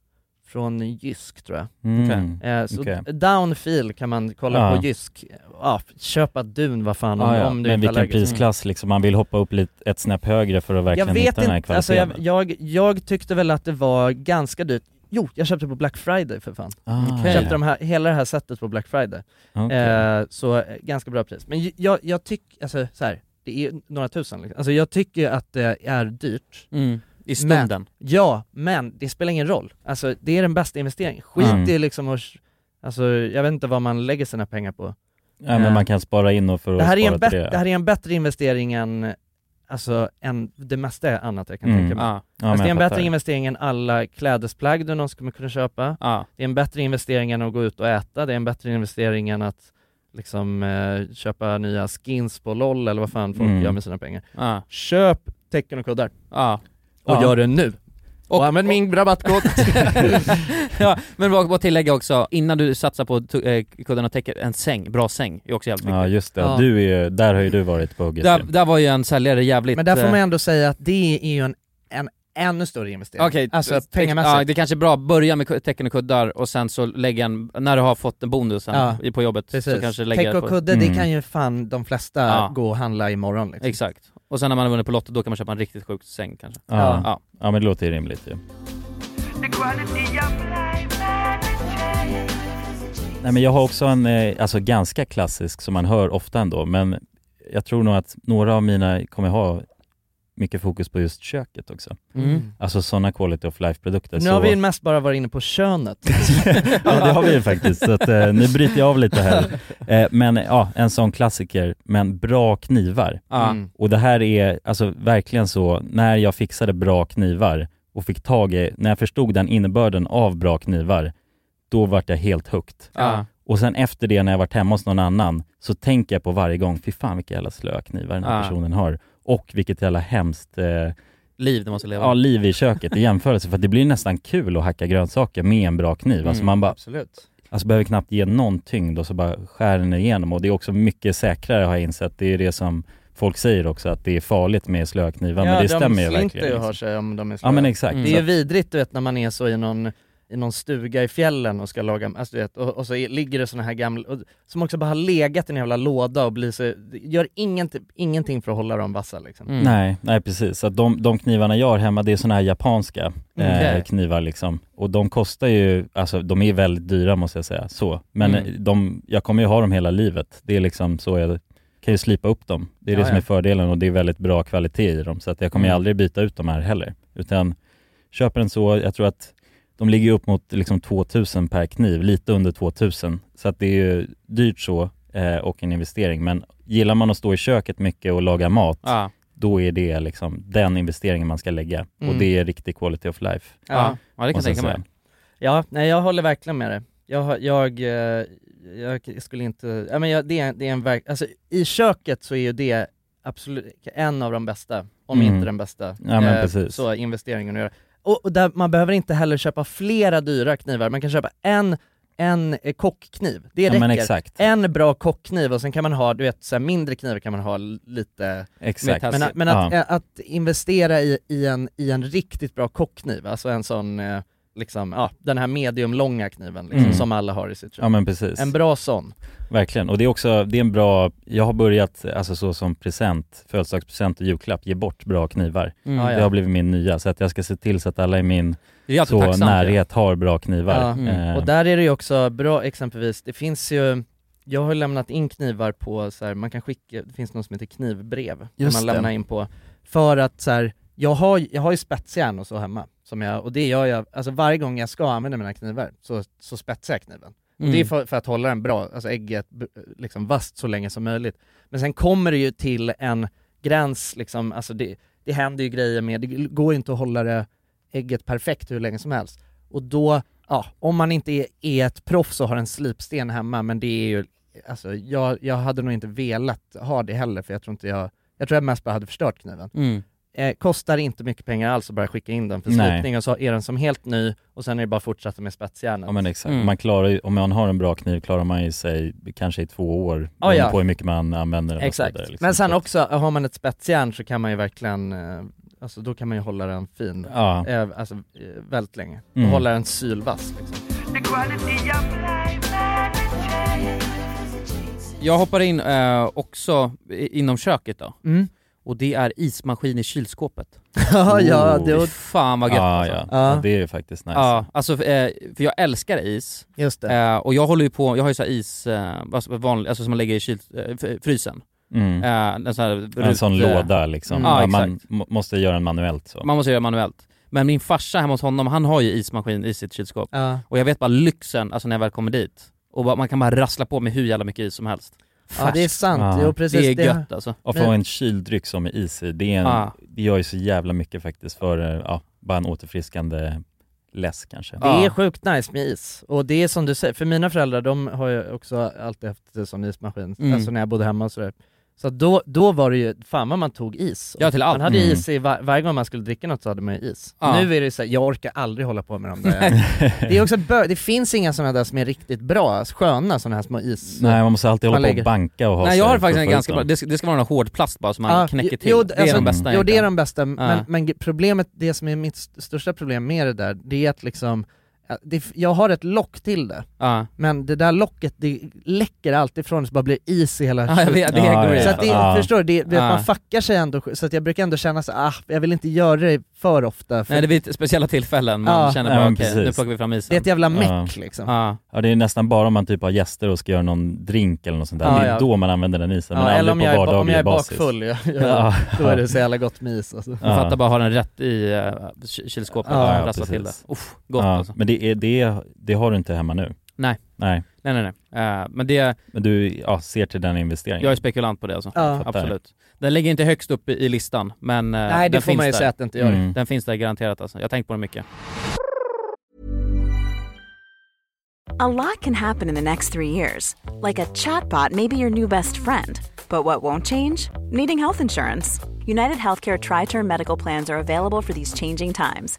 A: från Jysk tror jag.
C: Ja. Mm.
A: Eh, så
C: Okej.
A: downfeel kan man kolla
C: Ja.
A: på Jysk. Ja, köpa dun vad fan om,
C: Ah, Ja, ja.
A: om du
C: Men
A: inte är
C: vilken
A: allergisk.
C: prisklass liksom, man vill hoppa upp lite, ett snäpp högre för att
A: Jag
C: verkligen hitta
A: vet
C: den här
A: inte, alltså
C: kvaliteten.
A: jag, jag, jag tyckte väl att det var ganska dyrt. Jo, jag köpte på Black Friday för fan.
C: Ah,
B: Okej.
A: Köpte de här, hela det här sättet på Black Friday.
C: okej.
A: Eh, så eh, ganska bra pris. Men j- jag, jag tycker, alltså så här, det är några tusen liksom. Alltså jag tycker ju att det är dyrt.
B: Mm. I stunden.
A: Ja, men det spelar ingen roll. Alltså det är den bästa investeringen. Skit
C: Mm.
A: i liksom och, Alltså jag vet inte vad man lägger sina pengar på.
C: Ja, men man kan spara in och för att
A: Det här, är en
C: spara till
A: bet- det här är en bättre investering än, alltså, än det mesta annat jag kan
C: Mm.
A: tänka mig.
B: Ja,
C: Ja,
A: alltså,
C: men
A: det är en
C: jag fattar.
A: bättre investering än alla klädesplagg du någonsin kommer kunna köpa.
B: ja.
A: Det är en bättre investering än att gå ut och äta, det är en bättre investering än att liksom eh, köpa nya skins på LOL eller vad fan folk
C: Mm.
A: gör med sina pengar.
B: ja,
A: Köp tecken och kuddar.
B: ja.
A: Och
C: Ja.
A: gör det nu! Och, använd min rabattkod.
B: ja, men bara, bara tillägga också, innan du satsar på tu- eh, kudden och täcket, en säng, bra säng, är också jävligt
C: Ja
B: viktigt.
C: just det,
A: Ja.
C: Du är, ju- där har ju du varit på hugget
B: där,
C: Jim.
B: där var ju en säljare jävligt...
A: Men där får
B: eh,
A: man ändå säga att det är ju en, en ännu större investering.
B: Okej,
A: alltså
B: det- Ja,
A: pengamässigt.
B: det kanske är bra att börja med ku- täcken och kuddar och sen så lägga en, när du har fått en bonusen
A: Ja,
B: i- på jobbet så
A: Precis.
B: kanske
A: Täck
B: lägga
A: och
B: på...
A: kudde, det
C: Mm.
A: kan ju fan de flesta
B: Ja.
A: gå och handla imorgon liksom.
B: Exakt. Och sen när man har vunnit på Lotto, då kan man köpa en riktigt sjuk säng kanske.
C: ja.
B: Ja.
C: Ja. ja men det låter ju rimligt ju
D: The quality of life and the change.
C: Nej men jag har också en, eh, alltså ganska klassisk som man hör ofta ändå, men jag tror nog att några av mina kommer ha mycket fokus på just köket också.
B: Mm.
C: Alltså sådana quality of life-produkter.
A: Nu
C: så...
A: har vi ju mest bara varit inne på könet.
C: ja det har vi ju faktiskt, så att, eh, nu bryter jag av lite här. Eh, men eh, ja, en sån klassiker, men bra knivar.
B: Ja.
A: Mm.
C: Och det här är alltså verkligen så, när jag fixade bra knivar och fick tag i, när jag förstod den innebörden av bra knivar, då vart jag helt hooked.
B: Ja.
C: Och sen efter det när jag varit hemma hos någon annan så tänker jag på varje gång, fy fan vilka jävla slöa knivar den här
B: Ja.
C: personen har. Och vilket jävla hemskt eh,
B: Liv du måste leva.
C: ja, liv i köket i jämförelse. för att det blir nästan kul att hacka grönsaker med en bra kniv. Alltså
B: Mm.
C: man bara,
A: Absolut.
C: alltså behöver knappt ge någon tyngd och så bara skär den igenom. Och det är också mycket säkrare har jag insett. Det är det som folk säger också, att det är farligt med slöa knivar. men det stämmer ju
A: de
C: verkligen.
A: slinter ju
C: liksom.
A: har sig om de är
C: Ja men exakt.
B: Mm.
A: Det är
C: Så
A: ju
C: att-
A: vidrigt du vet när man är så i någon, i någon stuga i fjällen och ska laga, alltså, du vet, och, och så är, ligger det såna här gamla, och, som också bara har legat i en jävla låda och blir så, gör ingenting, ingenting för att hålla dem vassa liksom.
B: Mm.
C: Nej, nej precis. Så Att de, de knivarna jag har hemma, det är såna här japanska eh,
B: Okej.
C: knivar liksom. Och de kostar ju, alltså de är väldigt dyra måste jag säga, så. Men
B: Mm.
C: eh, de, jag kommer ju ha dem hela livet. Det är liksom så jag kan ju slipa upp dem. Det är
A: Ja,
C: det som
A: ja.
C: är fördelen och det är väldigt bra kvalitet i dem. Så att jag kommer ju
B: Mm.
C: aldrig byta ut de här heller. Utan köper en så, jag tror att de ligger ju upp mot liksom 2000 per kniv, lite under 2000. Så att det är ju dyrt så eh, och en investering. Men gillar man att stå i köket mycket och laga mat,
B: Ja.
C: då är det liksom den investeringen man ska lägga
A: Mm.
C: och det är riktig quality of life.
B: Ja. ja, det kan jag
C: måste jag
B: tänka mig.
A: Ja, nej jag håller verkligen med dig. Jag, har- jag, eh, jag skulle inte, ja men jag, det är, det är en verk, alltså i köket så är ju det absolut en av de bästa, om
C: Mm.
A: inte den bästa, eh,
C: Ja, men precis.
A: så investeringen att göra. Och, och där, man behöver inte heller köpa flera dyra knivar, man kan köpa en, en eh, kockkniv, det
C: ja,
A: räcker.
C: men exakt.
A: En bra kockkniv och sen kan man ha, du vet, så här mindre knivar kan man ha l- lite
C: exakt.
B: Med
A: men,
B: Alltså,
A: men att,
C: ja.
A: eh, att investera i, i, en, i en riktigt bra kockkniv, alltså en sån, eh, liksom, ja, den här mediumlånga kniven liksom,
C: Mm.
A: som alla har i sitt
C: Ja
A: köp.
C: men precis,
A: en bra sån.
C: verkligen. Och det är också, det är en bra, jag har börjat alltså så som present, födelsedagspresent och julklapp, ge bort bra knivar.
B: Mm.
A: Ah, Ja, ja.
C: Det har blivit min nya, så att jag ska se till så att alla i min
B: Det är alltid
C: så
B: tacksamt ju.
C: närhet har bra knivar.
A: Ja.
B: Mm.
C: Eh,
A: Och där är det ju också bra exempelvis, det finns ju jag har ju lämnat in knivar på så här, man kan skicka, det finns något som heter knivbrev,
B: Just
A: som man
B: det.
A: lämnar in på, för att så här, jag har, jag har ju spetsjärn och så hemma, som jag, och det gör jag, alltså varje gång jag ska använda mina knivar så, så spetsar jag kniven.
B: Mm.
A: Det är för, för att hålla den bra, alltså ägget b- liksom vasst så länge som möjligt. Men sen kommer det ju till en gräns liksom, alltså det, det händer ju grejer med, det går ju inte att hålla det ägget perfekt hur länge som helst. Och då, ja, om man inte är, är ett proffs och har en slipsten hemma, men det är ju, alltså jag, jag hade nog inte velat ha det heller för jag tror inte jag, jag tror jag mest bara hade förstört kniven.
B: Mm.
A: Eh, kostar inte mycket pengar alls att bara skicka in den för
C: Nej.
A: slipning och så är den som helt ny och sen är det bara att fortsätta med spetsjärnet.
C: Ja men exakt,
B: Mm.
C: man klarar ju, om man har en bra kniv klarar man ju sig kanske i två år,
A: Ah, Ja,
C: beroende
A: ja.
C: på hur mycket man använder den och så
A: Exakt,
C: vidare, liksom.
A: men sen
C: Så att-
A: också, har man ett spetsjärn så kan man ju verkligen, eh, alltså då kan man ju hålla den fin,
C: Ja,
A: eh, alltså eh, väldigt länge.
C: Mm.
A: Och hålla den sylvass liksom.
D: The quality of life and the change.
B: Jag hoppar in eh, också i, inom köket då,
A: Mm.
B: och det är ismaskin i kylskåpet.
A: ja, ja,
C: Oh.
A: det, och,
B: Fy fan vad gött
C: ja,
B: alltså.
C: Ah, ja.
A: Ja.
C: ja, det är ju faktiskt nice.
B: Ja, alltså eh, för jag älskar is,
A: just det.
B: Eh, och jag håller ju på, jag har ju så här is, eh, alltså vanlig, alltså som man lägger i kyl, eh, f- frysen.
C: Mm.
B: Eh, en sån, här
C: En
B: rut-
C: sån
B: eh,
C: låda liksom.
B: Mm. Ja,
C: Ja, man
B: exakt.
C: må- måste göra den manuellt så.
B: Man måste göra manuellt. Men min farsa hemma hos honom, han har ju ismaskin i sitt kylskåp.
A: Ja.
B: Och jag vet bara lyxen, alltså när jag väl kommer dit. Och bara, man kan bara rassla på med hur jävla mycket is som helst.
A: ja, det är
B: Färskt.
A: sant,
C: Ja.
A: jo precis.
B: det är gött alltså.
C: Och
A: Men-
C: få en kyldryck som är is i, det, är en,
B: Ja.
C: det gör ju så jävla mycket faktiskt för, eh, ja, bara en återfriskande läsk kanske.
A: Det är
B: Ja.
A: sjukt nice med is, och det är som du säger, för mina föräldrar de har ju också alltid haft det som ismaskin,
B: Mm.
A: alltså när jag bodde hemma och sådär. Så att då, då var det ju, fan vad man tog is.
B: Ja, till allt.
A: Man hade
E: Mm.
A: is i, var, varje gång man skulle dricka något så hade man ju is.
B: Ja.
A: Nu är det så här, jag orkar aldrig hålla på med de där. det är också bö- det finns inga sådana där som är riktigt bra, sköna sådana här små is...
C: Nej, man måste alltid
A: Man
C: hålla på
A: lägger-
C: och banka och ha
B: Nej
C: sig
B: jag har
C: för att
B: faktiskt en
C: få ut
B: ganska bra,
C: dem.
B: det ska, det ska vara någon hård plast bara som man
A: Ja,
B: knäcker
A: jo,
B: till.
A: jo,
B: det är
A: alltså,
B: de bästa
A: Jo det är
B: egentligen.
A: de bästa, men,
B: Ja.
A: men ge- problemet, det som är mitt st- största problem med det där, det är att liksom, ja, det, f- jag har ett lock till det,
B: Ja.
A: men det där locket det läcker alltid från det så bara blir is i hela
B: Ja, jag vet, det
C: Ja,
B: går
C: ja,
B: ju.
A: Så att det,
C: Ja.
A: förstår du, det, det,
B: Ja.
A: man fuckar sig ändå, så att jag brukar ändå känna så ah, jag vill inte göra det för ofta, för
B: Nej det är vid speciella tillfällen man
A: Ja.
B: känner
C: Ja,
B: bara
C: men
B: okej, nu
C: precis.
B: plockar vi fram
A: det är
B: isen.
A: ett jävla meck
C: Ja.
A: liksom.
B: Ja.
C: Ja det är nästan bara om man typ har gäster och ska göra någon drink eller något sånt där.
A: Ja,
C: det är
A: ja.
C: då man använder den isen, men
A: Ja, eller
C: aldrig
A: om
C: på
A: jag, är, ba-
C: vardaglig
A: om jag är
C: basis.
A: bakfull, ja, ja,
C: Ja.
A: då är det så jävla gott med is alltså.
B: Man
C: Ja.
B: fattar bara, har den rätt i uh, kylskåpet
A: Ja,
B: och
C: ja,
B: rassla till det.
C: precis.
B: Uff, gott
C: ja,
B: alltså.
C: Men det, är, det, det har du inte hemma nu?
B: Nej.
C: Nej,
B: Nej nej nej. Eh, men det,
C: men du ja, ser till den investeringen?
B: jag är spekulant på det alltså.
A: Ja.
C: Fattar.
B: Absolut. Den ligger inte högst upp i, i listan, men eh,
A: Nej det
B: den
A: får
B: finns
A: man ju
B: där.
A: säga att det inte gör.
C: Mm.
B: Den finns där garanterat alltså. Jag har tänkt på den mycket.
F: A lot can happen in the next three years. Like a chatbot may be your new best friend. But what won't change? Needing health insurance. United Healthcare Tri Term Medical Plans are available for these changing times.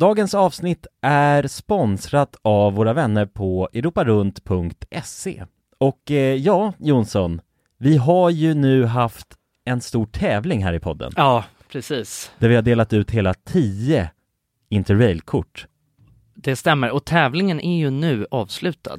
C: Dagens avsnitt är sponsrat av våra vänner på europarunt.se. Och eh, ja, Jonsson, vi har ju nu haft en stor tävling här i podden
G: Ja, precis.
C: där vi har delat ut hela 10 interrailkort.
G: Det stämmer. Och tävlingen är ju nu avslutad.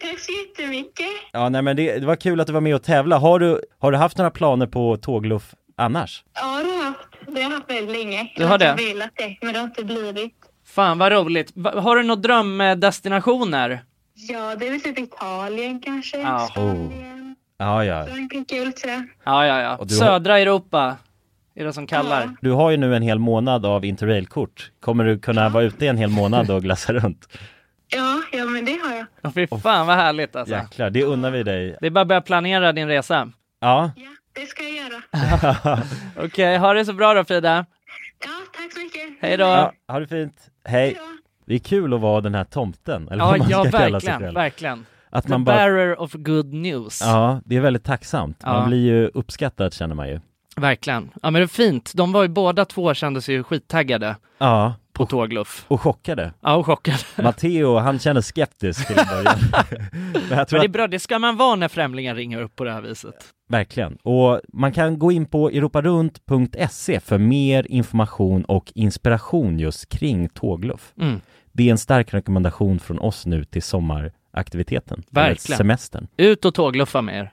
D: Tack så jättemycket.
C: Ja, nej men det, det var kul att du var med och tävla. Har du, har du haft några planer på tågluff annars?
D: Ja, det har jag haft. Det har jag haft väldigt länge.
H: Du har
D: Jag
H: det?
D: velat det, men det har inte blivit.
H: Fan vad roligt. Va- Har du några drömdestinationer?
D: Ja, det är väl typ Italien kanske.
H: Ja.
C: Ja, ja.
D: Frankrike, sådär.
H: Ja, ja, ja.
C: Och du har-
H: Södra Europa är det som kallar.
C: Du har ju nu en hel månad av interrailkort. Kommer du kunna vara ute en hel månad och glassa runt?
D: Ja, ja, men det har jag.
H: Åh, Fy fan vad härligt alltså.
C: Jäklar, det unnar vi dig.
H: Det är bara att börja planera din resa.
C: Ja.
D: Det ska jag göra.
H: Okej, ha det så bra då Frida.
D: Ja, tack så mycket.
H: Hej då.
C: ja, ha det fint. Hej. Det är kul att vara den här tomten, eller
H: Ja,
C: vad man
H: ja
C: ska kalla sig
H: verkligen,
C: själv.
H: verkligen.
C: Att
H: The
C: man bara-
H: bearer of good news.
C: Ja, det är väldigt tacksamt.
H: Ja.
C: Man blir ju uppskattad känner man ju.
H: Verkligen. Ja men det är fint. De var ju båda två kände sig ju skittaggade
C: Ja.
B: Oh.
H: på tågluff.
C: Och chockade.
H: Ja, och chockade.
C: Matteo, han känner skeptisk till en början. Men jag tror
H: Men det är
C: att,
H: bra, det ska man vara när främlingar ringer upp på det här viset.
C: verkligen. Och man kan gå in på europarunt.se för mer information och inspiration just kring tågluff.
H: Mm.
C: Det är en stark rekommendation från oss nu till sommaraktiviteten. eller
H: Verkligen.
C: Semestern.
H: Ut och tågluffa med er.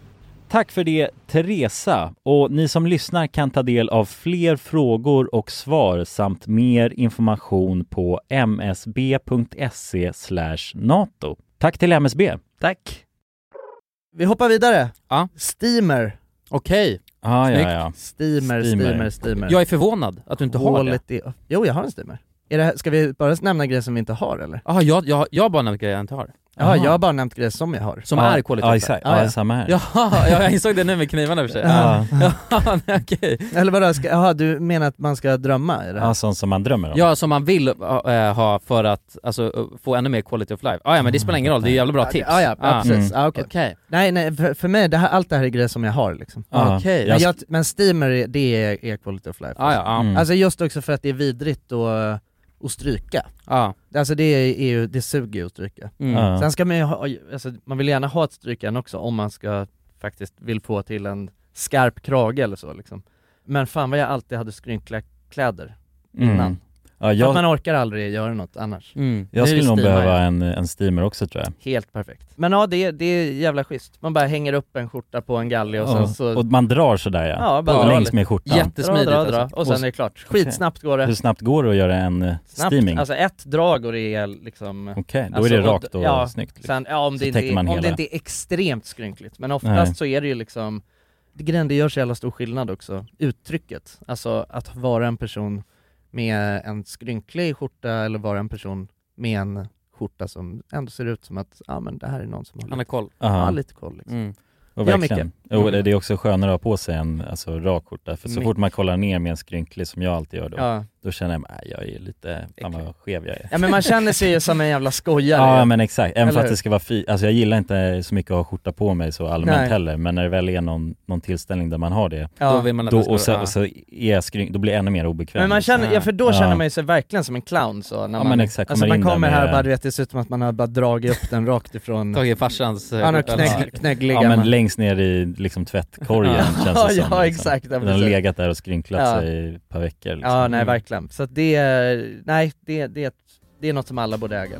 C: Tack för det, Teresa. Och ni som lyssnar kan ta del av fler frågor och svar samt mer information på msb.se E NATO. Tack till MSB. Tack.
A: Vi hoppar vidare!
B: Ja.
A: Steamer!
B: Okej.
C: Ah, ja,
B: Snyggt.
C: ja.
A: Steamer,
C: Steamer.
A: steamer, steamer.
B: Jag är förvånad att du inte har det.
A: Hålet i- Jo, jag har en steamer. Är det här, ska vi bara nämna grejer som vi inte har eller?
B: Jaha, jag, jag, jag bara nämnde grejer jag inte har.
A: Ja, jag har bara nämnt grejer som jag har.
B: Som
C: Ah,
B: är kolhydrater?
A: Ja, exakt. alltså. Ja,
C: samma här.
B: Jaha, ja, jag insåg det nu med knivarna i och för sig.
A: Ja.
B: Ja, nej, okej.
A: Eller vadå, ska, jaha, du menar att man ska drömma i det här?
C: Ja, Ah, sånt som man drömmer om.
B: Ja, som man vill eh, ha för att alltså, eh, få ännu mer quality of life. Ah, ja, men det spelar ingen roll, det är jävla bra
A: Ja,
B: tips. Ah. Mm.
A: Ja, ja, ja precis. Ja, okej.
B: Okej.
A: Nej, nej, för, för mig, det här, allt det här är grejer som jag har liksom.
B: Ja. Okej.
A: Men, jag, men Steamer, är- det är, är quality of life.
B: Ja, ja, ja. Mm.
A: Alltså just också för att det är vidrigt att, att stryka.
B: Ja.
A: Alltså det, är ju, det suger ju att stryka.
B: Ah, Mm. Ja.
A: Sen ska man ju ha, alltså, man vill gärna ha ett strykjärn också om man ska faktiskt vill få till en skarp krage eller så liksom. Men fan vad jag alltid hade skrynkliga kläder
C: Mm.
A: innan.
C: Ja,
A: För
C: jag-
A: att man orkar aldrig göra något annars. Nu är
C: Jag skulle
A: det
C: nog
A: steamar.
C: behöva en, en steamer också tror jag.
A: Helt perfekt. Men ja, det, det är jävla schysst. Man bara hänger upp en skjorta på en galge och sen
C: Och,
A: så...
C: Ah, och man drar sådär ja,
A: Ja, bara dra
C: längs
A: lite.
C: med skjortan.
A: Jättesmidigt Dra, dra, dra. alltså. Och sen
C: s-
A: är det klart.
C: Okej.
A: Skitsnabbt går det.
C: Hur snabbt går det att göra en eh,
A: Snabbt.
C: steaming?
A: Alltså ett drag och det är liksom...
C: Okej, då är det rakt och snyggt, liksom.
A: Sen, ja, om,
C: Så
A: det inte,
C: täcker
A: är-
C: man
A: om
C: hela.
A: det inte är extremt skrynkligt. Men oftast
C: Nej.
A: så är det ju liksom, det grejen, det gör så jävla stor skillnad också. Uttrycket, alltså att vara en person med en skrynklig skjorta eller vara en person med en skjorta som ändå ser ut som att, ja men det här är någon som har
B: Han har
A: lite-
B: koll.
A: Ja,
C: Aha.
A: lite koll liksom.
C: Och
A: Ja,
C: verkligen.
A: Micke.
C: Och det är också skönare att ha på sig en alltså, rak skjorta, för så
A: Mycket.
C: fort man kollar ner med en skrynklig som jag alltid gör då,
A: Ja.
C: då känner jag att jag är lite, fan vad skev jag är.
A: Ja men man känner sig ju som en jävla skojare.
C: Ja men exakt, även
A: Eller
C: för att
A: hur?
C: det ska vara fint, alltså jag gillar inte så mycket att ha skjorta på mig så allmänt
A: Nej.
C: heller, men när det väl är någon, någon tillställning där man har det,
A: Ja. Då vill
B: man att
C: då,
B: det ska
C: och, så,
B: vara-
C: och så är jag skryn, då blir jag ännu mer obekväm.
A: Men man känner, ja för då
C: Ja.
A: känner man ju sig verkligen som en clown så när
C: Ja,
A: man,
C: men exakt,
A: alltså
C: kommer
A: man
C: in där
A: kommer här och
C: med-
A: bara du vet det ser ut som att man har bara dragit upp den rakt ifrån
B: Tagit farsans... eh,
A: Han har
B: eller-
A: knägg, knäggliga
C: Ja men
A: man.
C: längst ner i liksom tvättkorgen
A: Ja.
C: känns det
A: Ja,
C: som. liksom.
A: exakt, ja,
C: Den har
A: precis.
C: legat där och skrynklat
A: Ja.
C: sig i ett par veckor. Liksom.
A: Ja nej verkligen, så att det, är- nej det, det, är ett- det är något som alla borde äga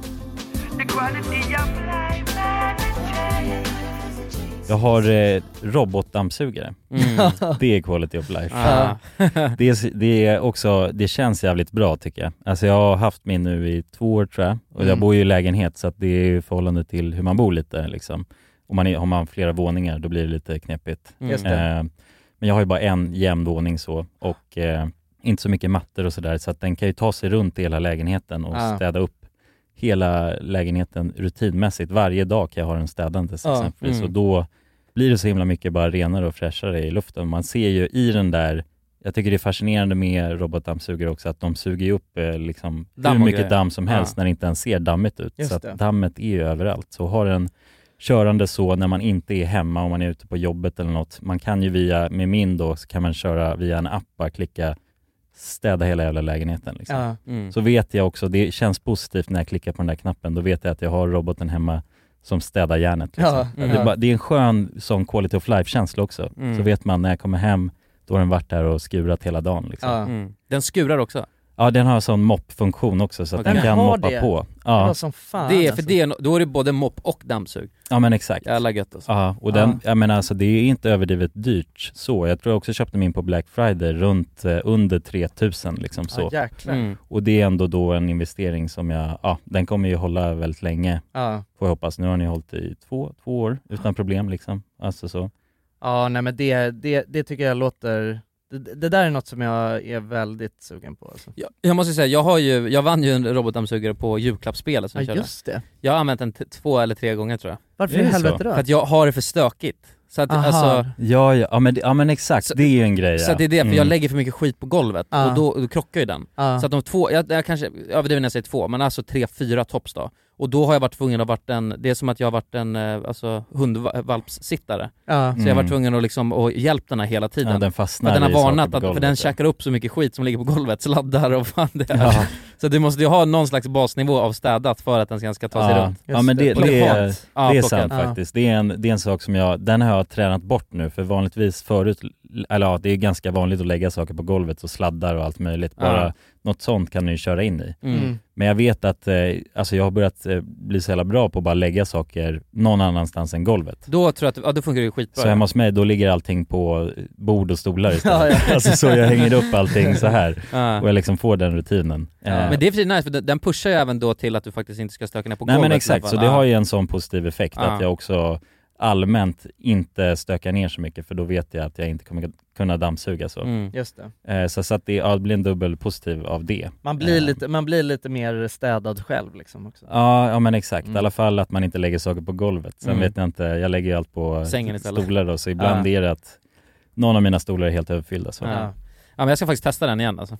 D: The quality of life and the change.
C: Jag har eh, robotdammsugare.
D: Mm.
C: Det är quality of life.
D: Ah.
C: det, är, det är också, det känns jävligt bra tycker jag. Alltså jag har haft min nu i två år tror jag. Och jag
B: Mm.
C: bor ju i lägenhet så att det är i förhållande till hur man bor lite liksom. Om man är, har man flera våningar då blir det lite knepigt.
B: Mm. Just det.
C: Eh, men jag har ju bara en jämn våning så och eh, inte så mycket mattor och sådär så att den kan ju ta sig runt i hela lägenheten och
B: Ah.
C: städa upp hela lägenheten rutinmässigt. Varje dag kan jag ha den städandes
B: Ja.
C: exempelvis
B: Mm.
C: och då blir det så himla mycket bara renare och fräschare i luften. Man ser ju i den där, jag tycker det är fascinerande med robotdammsugare också, att de suger ju upp eh, liksom
B: Damm
C: hur
B: och
C: mycket
B: grejer.
C: damm som helst
B: Ja.
C: när det inte ens ser dammigt ut.
B: Just
C: så att
B: det.
C: dammet är ju överallt. Så har den körande så när man inte är hemma, om man är ute på jobbet eller något, man kan ju via, med min då, så kan man köra via en app, bara klicka städa hela jävla lägenheten. Liksom.
A: Ja.
B: Mm.
C: Så vet jag också, det känns positivt när jag klickar på den där knappen, då vet jag att jag har roboten hemma som städar järnet. Liksom.
B: Ja,
C: Det,
B: mm.
C: är bara, det är en skön sån quality of life-känsla också.
B: Mm.
C: Så vet man när jag kommer hem, då har den varit där och skurat hela dagen. Liksom.
B: Ja. Mm. Den skurar också.
C: Ja, den har en sån moppfunktion också så att
B: Okej.
C: den kan
B: Den har
C: moppa
B: det?
C: på.
B: Det var
C: Ja.
B: som fan, Det är- för alltså. det är no- då är det både mopp och dammsug.
C: Ja men exakt.
B: Jävla gött alltså.
C: Ja, och den, jag menar alltså det är inte överdrivet dyrt så. Jag tror jag också köpte min på Black Friday runt eh, under 3000 liksom så.
A: Ja, jäklar. Mm.
C: Och det är ändå då en investering som jag, ja den kommer ju hålla väldigt länge.
A: Ja.
C: Får jag hoppas. Nu har ni hållit i två, två år utan problem liksom. Alltså så.
A: Ja nej men det, det, det tycker jag låter, det, det där är något som jag är väldigt sugen på alltså.
B: Ja, Jag måste säga, jag, har ju, jag vann ju en robotdammsugare på julklappsspelet som vi
A: Ja,
B: körde.
A: just det.
B: Jag har använt den t- två eller tre gånger tror jag.
A: Varför i helvete då?
B: För att jag har det för stökigt. Så att,
A: Aha.
B: alltså,
C: Ja, ja, ja, men, det- ja men exakt, det är ju en grej
B: så
C: ja.
B: att det är det, för
C: Mm.
B: jag lägger för mycket skit på golvet
C: Ah.
B: och då, då krockar ju den.
C: Ah.
B: Så att de två, jag, jag kanske överdriver när jag säger två, men alltså tre, fyra tops då. Och då har jag varit tvungen att varit en, det är som att jag har varit en eh, alltså, hundvalpssittare.
A: Ja.
B: Så jag har
A: Mm.
B: varit tvungen att liksom, och hjälpt den här hela tiden.
C: Ja, den fastnar
B: för den har
C: i saker
B: varnat,
C: på
B: att, för
C: golvet,
B: den
C: ja.
B: käkar upp så mycket skit som ligger på golvet, sladdar och fan det är.
C: Ja.
B: Så du måste ju ha någon slags basnivå av städat för att den sen ska ta sig
C: ja.
B: runt.
C: Ja men det, det, är,
B: Ja,
C: det är
B: plockat.
C: sant
B: Ja.
C: faktiskt. Det är, en, det är en sak som jag, den har jag tränat bort nu för vanligtvis förut, eller ja det är ganska vanligt att lägga saker på golvet och sladdar och allt möjligt.
B: Ja.
C: Bara något sånt kan du ju köra in i.
B: Mm.
C: Men jag vet att, eh, alltså jag har börjat eh, bli så jävla bra på att bara lägga saker någon annanstans än golvet.
B: Då tror jag att, ja då funkar det ju skitbra.
C: Så hemma hos mig, då ligger allting på eh, bord och stolar istället.
B: Ja, ja.
C: alltså så jag hänger upp allting så här
B: Ja.
C: och jag liksom får den rutinen. Eh,
B: Men det är för sig nice, för den- den pushar ju även då till att du faktiskt inte ska stöka ner på
C: Nej
B: golvet. i
C: men
B: alla
C: exakt,
B: fall.
C: så det
B: Ja.
C: har ju en sån positiv effekt
B: Ja.
C: att jag också allmänt inte stöka ner så mycket för då vet jag att jag inte kommer kunna dammsuga så.
A: Mm. Just
C: Eh, Så, så att det, ja, det blir en dubbel positiv av det.
A: Man blir,
B: Eh.
A: lite, man blir lite mer städad själv liksom också.
C: Ja, ja men exakt.
A: Mm.
C: I alla fall att man inte lägger saker på golvet. Sen
A: Mm.
C: vet jag inte, jag lägger ju allt på
B: Sängen istället.
C: stolar då, så ibland
B: Ja.
C: är det att någon av mina stolar är helt överfyllda. Så. Mm.
B: Ja. ja men jag ska faktiskt testa den igen alltså.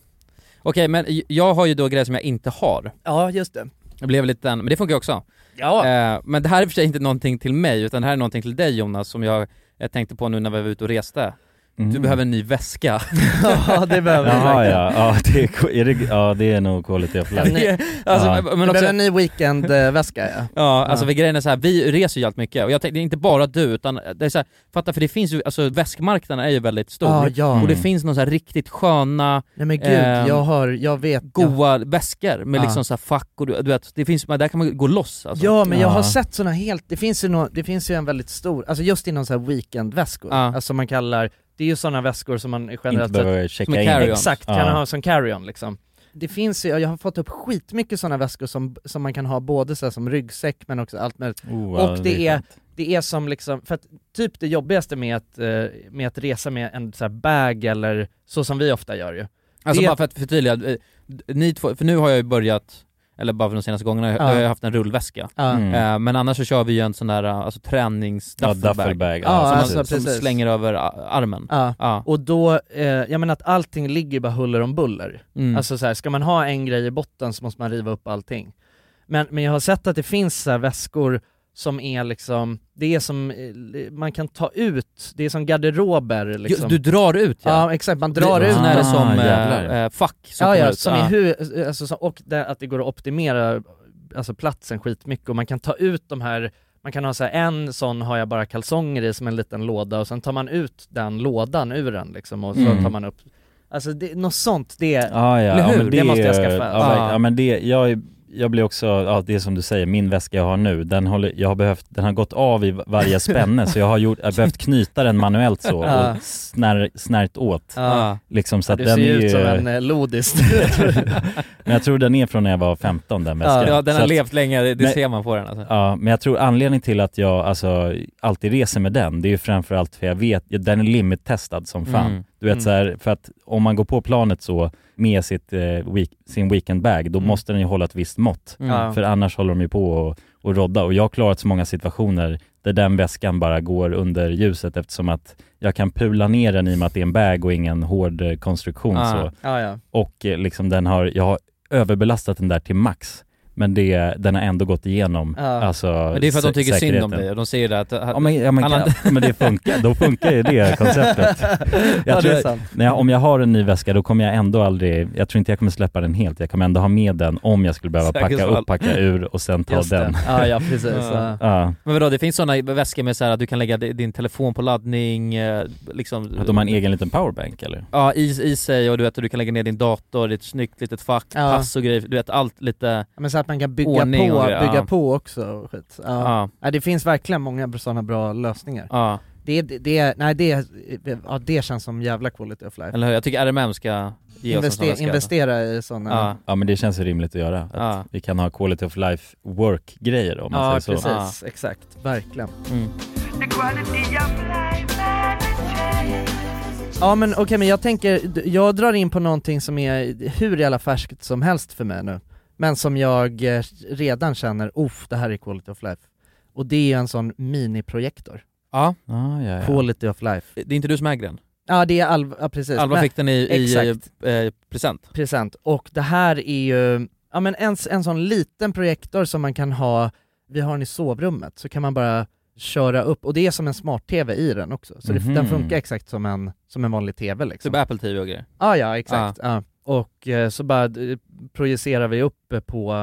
B: Okej men j- jag har ju då grejer som jag inte har.
A: Ja, just det.
B: Det blev lite den, men det funkar ju också.
A: Ja.
B: Eh, men det här är i och för sig inte någonting till mig, utan det här är någonting till dig Jonas, som jag, jag tänkte på nu när vi var ute och reste. Du
C: Mm.
B: behöver en ny väska.
A: Ja, det behöver vi
C: Jaha,
A: verkligen.
C: ja. Ja, det är, ko- är det, ja, det är nog quality of
A: En ny-
C: life.
B: Alltså,
C: ja.
B: men
A: Du
B: också-
A: behöver en ny weekendväska ja.
B: Ja, alltså
A: Ja.
B: för grejen är så här, vi reser ju allt mycket och jag tänkte, det är inte bara du utan det är så här, fatta för det finns ju, alltså väskmarknaden är ju väldigt stor
A: Ja, ja.
B: och det
A: Mm.
B: finns några så här riktigt sköna,
A: Nej men gud,
B: Ehm,
A: jag har, jag vet. jag,
B: goa väskor med
A: Ja.
B: liksom så här fack och du, du vet, det finns, där kan man gå loss alltså.
A: Ja men jag har sett såna helt, det finns ju, nå det finns ju en väldigt stor, alltså just inom så här weekendväskor,
B: Ja.
A: alltså man kallar, det är ju sådana väskor som man generellt
C: behöver
A: sett,
C: checka Som är in. carry-on.
A: exakt, kan
C: Ja.
A: ha som carry-on liksom. Det finns ju, jag har fått upp skitmycket sådana väskor som, som man kan ha både så här, som ryggsäck men också allt möjligt.
C: Oh, ja,
A: och det,
C: det är
A: är, det är som liksom, för att typ det jobbigaste med att, eh, med att resa med en så här bag eller så som vi ofta gör ju.
B: Alltså
A: det,
B: bara för att förtydliga, eh, ni två, för nu har jag ju börjat, eller bara för de senaste gångerna,
A: Ja.
B: har jag haft en rullväska.
A: Ja.
C: Mm.
B: Eh, Men annars så kör vi ju en sån där eh, alltså, träningsduffelbag
C: Ja, duffelbag, ja,
B: som, man-
A: alltså,
B: som
A: precis.
B: slänger över a- armen.
A: ja.
B: Ja.
A: Och då, eh, jag menar att allting ligger bara huller om buller.
B: Mm.
A: Alltså så här, ska man ha en grej i botten så måste man riva upp allting. Men, men jag har sett att det finns så här väskor som är liksom, det är som, eh, man kan ta ut, det är som garderober liksom.
B: Du drar ut ja.
A: ja exakt, man drar
B: det,
A: ut
B: Sen är det
A: den.
B: som eh,
C: jävlar.
B: eh, fack som
A: Ja,
B: kommer
A: ja
B: ut. Ah.
A: som
B: Ja.
A: är hur, alltså, som, och det, att det går att optimera alltså, platsen skitmycket och man kan ta ut de här, man kan ha så här, en sån har jag bara kalsonger i som en liten låda och sen tar man ut den lådan ur den liksom och så
C: Mm.
A: tar man upp, alltså det, något sånt det,
B: Ah.
C: Ah, Ja, ja,
A: eller
C: ja,
A: hur?
C: men
A: det, måste jag
C: är-
A: skaffa. Ah.
C: Ja, verkligen.
B: Ja.
C: ja men det, jag, jag blir också, ja det är som du säger, min väska jag har nu, den, håller, jag har, behövt, den har gått av i varje spänne så jag har gjort, jag har behövt knyta den manuellt så
A: Ja.
C: och snär, snärt åt.
A: Ja.
C: Liksom,
A: Ah. Ja,
C: så att
A: du
C: den
A: ser ju
C: är ju,
A: ut som en eh, lodis.
C: men jag tror den är från när jag var 15
A: Ah.
C: den väskan.
B: Ja, den
C: Så
B: har
C: att-
B: levt länge, det, det
C: Nej.
B: ser man på den alltså.
C: Ja, men jag tror anledningen till att jag alltså, alltid reser med den, det är ju framförallt för jag vet, ja, den är limittestad som fan.
B: Mm.
C: Du vet
B: Mm.
C: så här, för att om man går på planet så med sitt, eh, week, sin weekendbag, då
B: Mm.
C: måste den ju hålla ett visst mått.
B: Mm.
A: Ja.
C: För annars håller de ju på och, och rodda. Och jag har klarat så många situationer där den väskan bara går under ljuset eftersom att jag kan pula ner den i och med att det är en bag och ingen hård eh, konstruktion.
B: Ah.
C: Så.
A: ja, ja.
C: Och eh, liksom den har, jag har överbelastat den där till max. Men det, den har ändå gått igenom
A: Ja.
C: alltså
B: Men det är för att de
C: sä-
B: tycker synd om
C: säkerheten.
B: dig Eh, och de säger det att...
C: Ja men, ja, men,
B: Alla-
C: kan- men det funkar, då funkar ju det konceptet.
A: Ja,
C: tror
A: det är
C: jag-
A: sant.
C: När jag, om jag har en ny väska då kommer jag ändå aldrig, jag tror inte jag kommer släppa den helt. Jag kommer ändå ha med den om jag skulle behöva packa
B: Säkerhetsfall.
C: upp, packa ur och sen ta
A: Just det.
C: den.
A: Ja, ja precis.
B: Ja.
A: Ja.
C: Ja.
B: Men vadå, det finns sådana väskor med så här att du kan lägga di- din telefon på laddning, eh, liksom...
C: Att de har en egen liten powerbank eller?
B: Ja, i, i sig och du vet, du kan lägga ner din dator i ett snyggt litet fack,
A: Ja.
B: pass och grejer, du vet allt lite...
A: Men så att man kan bygga
B: Ordning
A: på,
B: och grejer,
A: bygga
B: ja.
A: på också och skit. Ja. Ja.
B: Ja.
A: det finns verkligen många sådana bra lösningar.
B: ja.
A: Det, det, det, nej det, ja, det känns som jävla quality of life.
B: Eller hur? Jag tycker RMM ska ge oss en
A: Investe,
B: sån väska.
A: investera i sådana.
B: Ja.
C: Ja men det känns ju rimligt att göra. Att
B: Ja.
C: Vi kan ha quality of life work-grejer om man
A: Ja,
C: säger så.
A: precis, exakt, verkligen.
B: Mm.
F: The quality of life and the change.
A: Ja men okej, men jag tänker, d- jag drar in på någonting som är hur jävla färskt som helst för mig nu, men som jag eh, redan känner, uff, det här är quality of life. Och det är ju en sån miniprojektor,
B: Ja,
C: Ah, ja, ja.
A: quality of life.
B: det är inte du som äger den.
A: Ja det är Alva, ja, precis.
B: Alva
A: Men-
B: fick den i, i
A: exakt.
B: eh, present.
A: present. Och det här är ju, ja men en, en sån liten projektor som man kan ha, vi har den i sovrummet, så kan man bara köra upp, och det är som en smart-tv i den också, så det,
C: Mhm.
A: den funkar exakt som en, som en vanlig tv liksom.
B: Typ Apple TV och grejer.
A: Ja, Ah, ja exakt.
C: Ah.
A: Ja. Och eh, så bara eh, projicerar vi upp eh, på,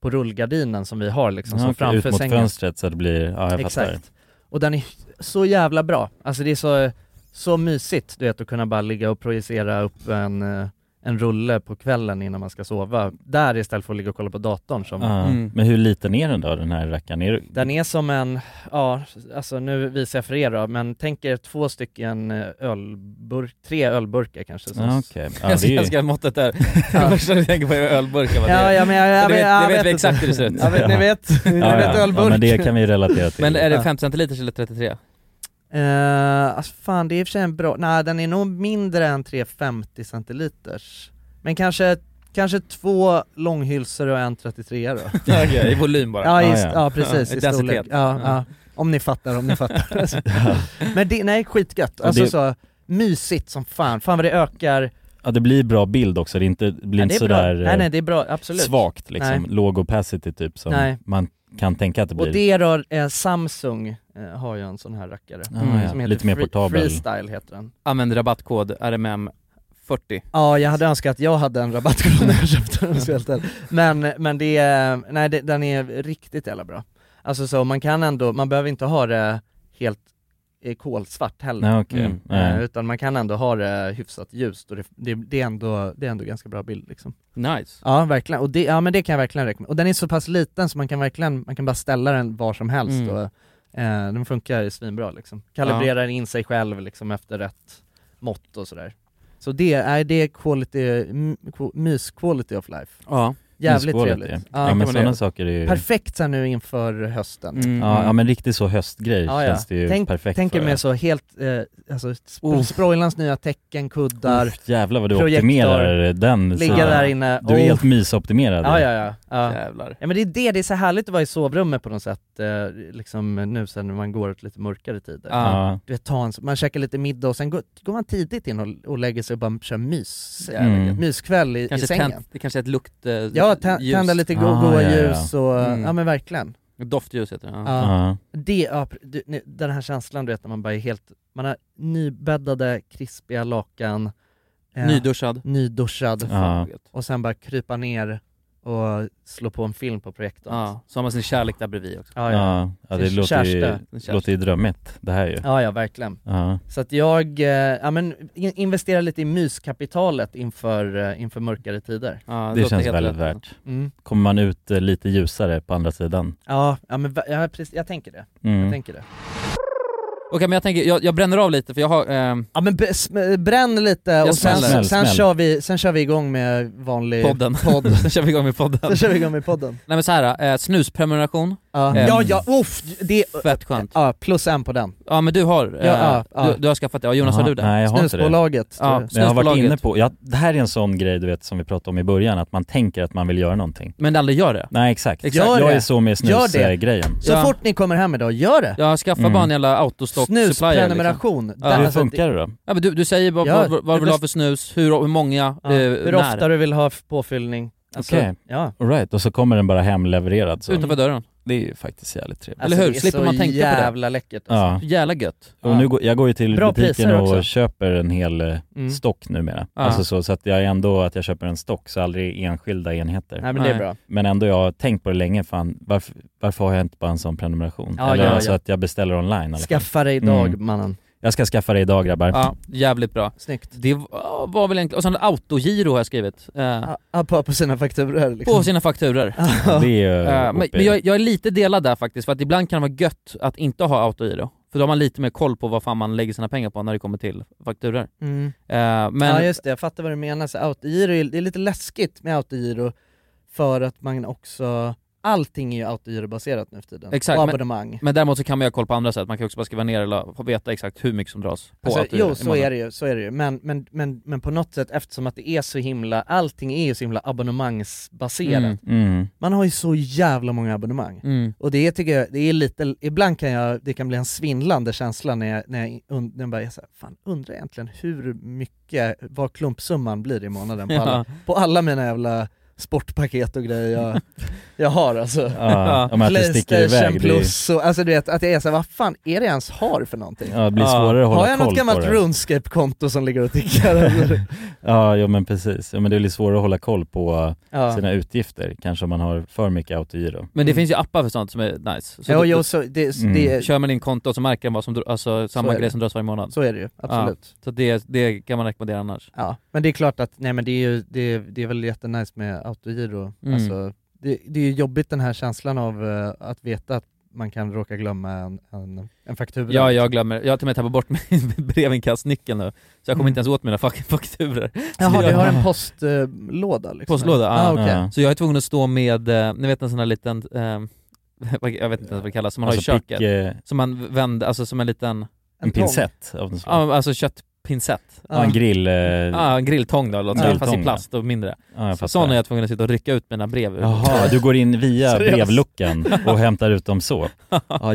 A: på rullgardinen som vi har liksom,
C: Ja,
A: som
C: okej,
A: framför
C: ut mot
A: sängen.
C: fönstret så att det blir, ja jag fattar.
A: Exakt. Och den är så jävla bra. Alltså det är så, så mysigt, du vet, att kunna bara ligga och projicera upp en, eh, en rulle på kvällen innan man ska sova, där istället för att ligga och kolla på datorn som
C: Ja. Men hur liten är den då, den här rackaren? Är det...
A: Den är som en, ja, alltså nu visar jag för er då, men tänk er två stycken eh, ölburk, tre ölburkar kanske. som-
C: Ja, Ah, okej. Ja,
B: Jag älskar måttet där. Det första jag tänker på är ölburkar. vad det är.
A: Ja, ja, men jag, jag,
B: Du vet-
A: jag
B: du vet
A: inte.
B: exakt hur det ser ut.
A: Ja, vet, ni vet, ni
C: Ja,
A: vet
C: ja.
A: ölburk. eh,
C: Ja, men det kan vi relatera till.
B: Men är det
A: Ja.
B: 50 centiliters eller 33?
A: Eh, alltså fan det är i och för sig en bra, nej den är nog mindre än 350 centiliters. Men kanske, kanske två långhylsor och en 33 då.
B: Okej, i volym bara.
A: Ja,
B: Ah,
A: just,
B: ja.
A: ja. precis,
B: Ja,
A: i
B: densitet.
A: storlek. Ja,
B: Ja.
A: ja. Om ni fattar, om ni fattar. Men det, nej skitgött, alltså
C: det-
A: så mysigt som fan, fan vad det ökar
C: Ja det blir bra bild också, det, är inte, det blir
A: Ja,
C: inte
A: det är bra.
C: sådär eh,
A: Nej, nej, det är bra, absolut.
C: svagt liksom,
A: Nej.
C: låg opacity typ som
A: Nej.
C: man kan tänka att det blir.
A: Och det då, eh, Samsung eh, har ju en sån här rackare,
C: Ah, ja.
A: som heter
C: Lite mer
A: Free-
C: portabel.
A: Freestyle heter den
B: Använd rabattkod RMM40.
A: Ja, jag hade önskat att jag hade en rabattkod när jag köpte den, så helt ärligt. men, men det är, nej det, den är riktigt jävla bra Alltså så, man kan ändå, man behöver inte ha det helt eh, kolsvart heller
C: Nej, okej.
A: Eh,
C: Nej.
A: Utan man kan ändå ha det hyfsat ljust och det, det, det, är ändå, det är ändå ganska bra bild liksom
B: Nice.
A: Ja verkligen, och det, ja, men det kan jag verkligen rekommendera. Och den är så pass liten så man kan verkligen, man kan bara ställa den var som helst
B: Mm.
A: och eh, den funkar svinbra liksom. Kalibrerar den in sig själv liksom efter rätt mått och sådär. Så det, är det är quality, m- qu- mys quality of life.
B: Ja.
A: Jävligt
C: Mysquality.
A: trevligt.
C: Ja, men sådana saker är ju...
A: Perfekt sen nu inför hösten.
B: Mm.
C: Ja, ja men riktigt så höstgrej
A: Mm. Ja, ja.
C: känns det ju
A: Tänk,
C: perfekt
A: tänk er
C: för.
A: med så helt, eh, alltså sp-
C: Uff.
A: sproilans nya tecken, kuddar,
C: Uff, jävlar vad du
A: projektor.
C: optimerar den
A: Ligga
C: sidan.
A: där inne.
C: Du är
A: Oh.
C: helt mysoptimerad.
A: Ja, ja, ja. ja.
B: Jävlar.
A: Ja men det är det, det är så härligt att vara i sovrummet på något sätt, eh, liksom nu sen när man går åt lite mörkare tider.
C: Ja.
A: Du vet, ta en, man käkar lite middag och sen går, går man tidigt in och, och lägger sig och bara kör mys, eh,
B: Mm.
A: myskväll i, i
B: Kanske
A: sängen.
B: tänd- det kanske är ett lukt... eh,
A: ja, tä-
B: ljus.
A: tända lite go-
C: Ah,
A: goa
C: ja, ja.
A: ljus och,
B: Mm.
A: ja men verkligen.
B: Doftljus heter det. Ja.
A: Ja.
C: Ja.
A: Det, ja, pr- du, ni- den här känslan du vet när man bara är helt, man har nybäddade, krispiga lakan, eh,
B: Nyduschad.
A: nyduschad
B: Fan,
C: Ja.
B: vad gött.
A: och sen bara krypa ner och slå på en film på projektorn.
B: Ja. Så har man sin kärlek där bredvid också.
A: Ja, ja.
C: Ja. ja, det
A: Sin
C: låter ju,
A: kärsta.
B: Sin kärlek.
C: låter ju drömmigt det här ju.
A: Ja, ja verkligen.
C: Ja.
A: Så att jag, eh, ja men in- investera lite i myskapitalet inför, eh, inför mörkare tider.
B: Ja, det
C: Det,
B: låter
C: känns
B: helt
C: väldigt
B: rätt.
C: värt.
A: Mm.
C: Kommer man ut eh, lite ljusare på andra sidan?
A: Ja, ja men va- ja, precis, jag tänker det. Jag
C: Mm.
A: tänker det.
B: Okej men jag tänker, jag, jag bränner av lite för jag har... ehm,
A: Ja men b- sm- bränn lite och sen,
B: smäller.
A: sen,
C: Smäll, smäll.
A: Kör vi, sen kör vi igång med vanlig...
B: Podden. Sen kör vi igång med podden.
A: Sen kör vi igång med podden.
B: Nej men så här, eh, snusprenumeration,
A: Ja,
B: Mm.
A: ja, ja uff, det...
B: fett skönt.
A: Ja, plus en på den.
B: Ja men du har, eh,
A: Ja, ja, ja.
B: Du, du har skaffat det, ja, Jonas
C: Jaha,
B: har du det?
C: Nej, jag har inte det.
A: Snusbolaget.
B: Ja.
A: tror jag.
C: Men jag har varit
B: Snusbolaget.
C: inne på, ja, det här är en sån grej du vet som vi pratade om i början, att man tänker att man vill göra någonting.
B: Men aldrig gör det?
C: Nej exakt,
A: Exakt. Gör
C: jag
A: det.
C: är så med
A: Gör det.
C: snusgrejen.
A: Så
B: Ja.
A: fort ni kommer hem idag, gör det!
B: Jag skaffar
C: Mm.
B: bara en jävla autostock supplier liksom.
A: Snusprenumeration. Där-
C: Hur
A: alltså,
C: funkar det då?
B: ja, men du, du säger vad,
A: Ja,
B: vad, vad,
A: det
B: du vill ha
A: bäst-
B: för snus, hur, hur många,
A: Ja.
B: eh,
A: Hur
B: när.
A: ofta du vill ha f- påfyllning. Alltså,
C: Okej.
A: ja.
C: All right, och så kommer den bara hemlevererad så.
B: Utanför dörren.
C: Det är ju faktiskt jävligt trevligt.
B: Eller hur? Slipper man tänka på det.
A: Alltså, Det är så jävla läckert alltså.
C: Ja.
B: Jävla gött.
C: Och nu går, jag går ju till
A: Bra
C: butiken
A: priser
C: och
A: också.
C: köper en hel eh,
A: Mm.
C: stock numera.
B: Ja.
C: Alltså så, så att jag är ändå att jag köper en stock, så aldrig enskilda enheter.
A: Nej men det är
B: Nej.
A: bra.
C: Men ändå jag har tänkt på det länge, fan varför, varför har jag inte bara en sån prenumeration?
A: Ja,
C: Eller
A: ja,
C: alltså
A: ja.
C: att jag beställer online eller?
A: Skaffa dig idag
C: Mm.
A: mannen.
C: Jag ska skaffa det idag grabbar.
B: Ja, jävligt bra.
A: Snyggt.
B: Det var var väl egentligen, och sen autogiro har jag skrivit. Eh,
A: Ja, på, på sina fakturor liksom. Mm.
B: På sina fakturer.
C: Det är ju
B: Eh, men
C: OP.
B: men jag, jag är lite delad där faktiskt, för att ibland kan det vara gött att inte ha autogiro. För då har man lite mer koll på vad fan man lägger sina pengar på när det kommer till fakturor.
A: Mm.
B: Eh, men
A: Ja just det, jag fattar vad du menar. Så autogiro, är- det är lite läskigt med autogiro för att man också, allting är ju autogirobaserat nu för tiden.
B: Exakt,
A: Och
B: men-
A: abonnemang.
B: Men däremot så kan man ju ha koll på andra sätt, man kan också bara skriva ner eller få veta exakt hur mycket som dras på
A: Alltså,
B: att du-
A: jo, så
B: imorgon.
A: är det ju, så är det ju. Men, men, men, men på något sätt, eftersom att det är så himla, allting är ju så himla abonnemangsbaserat.
B: Mm.
C: Mm.
A: Man har ju så jävla många abonnemang.
B: Mm.
A: Och det tycker jag, det är lite, ibland kan jag, det kan bli en svindlande känsla när jag, när jag, und, när jag bara, jag så här, fan undrar egentligen hur mycket, vad klumpsumman blir i månaden på alla,
B: Ja.
A: på alla mina jävla sportpaket och grejer jag, jag har alltså.
C: Ja, om att det sticker iväg, det är ju-
A: plus och alltså du vet att jag är såhär, vad fan är det jag ens har för någonting?
C: Ja, det blir svårare att hålla
A: Har jag
C: koll
A: något
C: på
A: gammalt
C: det.
A: RuneScape-konto som ligger och tickar?
C: Ja, jo men precis. Ja, men det blir svårare att hålla koll på
A: Ja.
C: sina utgifter, kanske om man har för mycket autogiro.
B: Men det finns ju appar för sånt som är nice.
A: Mm. Ja,
B: då-
A: jo,
B: då-
A: så det-
C: Mm. det-
B: Kör man in konto så märker den vad som dr- alltså samma
A: är det.
B: grej som dras varje månad.
A: Så är det ju, absolut.
B: Ja, så det, det kan man rekommendera annars.
A: Ja, men det är klart att, nej men det är ju, det är, det är väl jättenice med autogiro.
B: Mm.
A: Alltså, det, det är ju jobbigt den här känslan av eh, att veta att man kan råka glömma en, en, en faktura.
B: Ja, jag glömmer. Jag har till och med tappat bort min brevinkastnyckel nu. Så jag kommer
A: Mm.
B: inte ens åt mina fucking fakturor.
A: Jaha,
B: Så
A: du
B: jag-
A: har en postlåda liksom?
B: Postlåda,
A: ah,
B: ah,
A: okej.
C: ja.
B: Så jag är tvungen att stå med, eh, ni vet en sån här liten, eh, vad- jag vet inte vad det kallas, som man
C: Alltså
B: har i köket.
C: pick, eh,
B: Som man vänder, alltså som en liten...
C: En tång. pincett av något slag.
B: Ja, alltså köttpincett.
C: Ja, en grill, eh,
B: Ja, en grilltång då, låt säga,
C: grilltång,
B: fast i
C: ja.
B: plast och mindre.
C: Ja, jag
B: så,
C: fattar.
B: sån är jag tvungen att sitta och rycka ut mina brev ur.
C: Jaha, du går in via
B: Seriöst?
C: brevluckan och hämtar ut dem så? Ja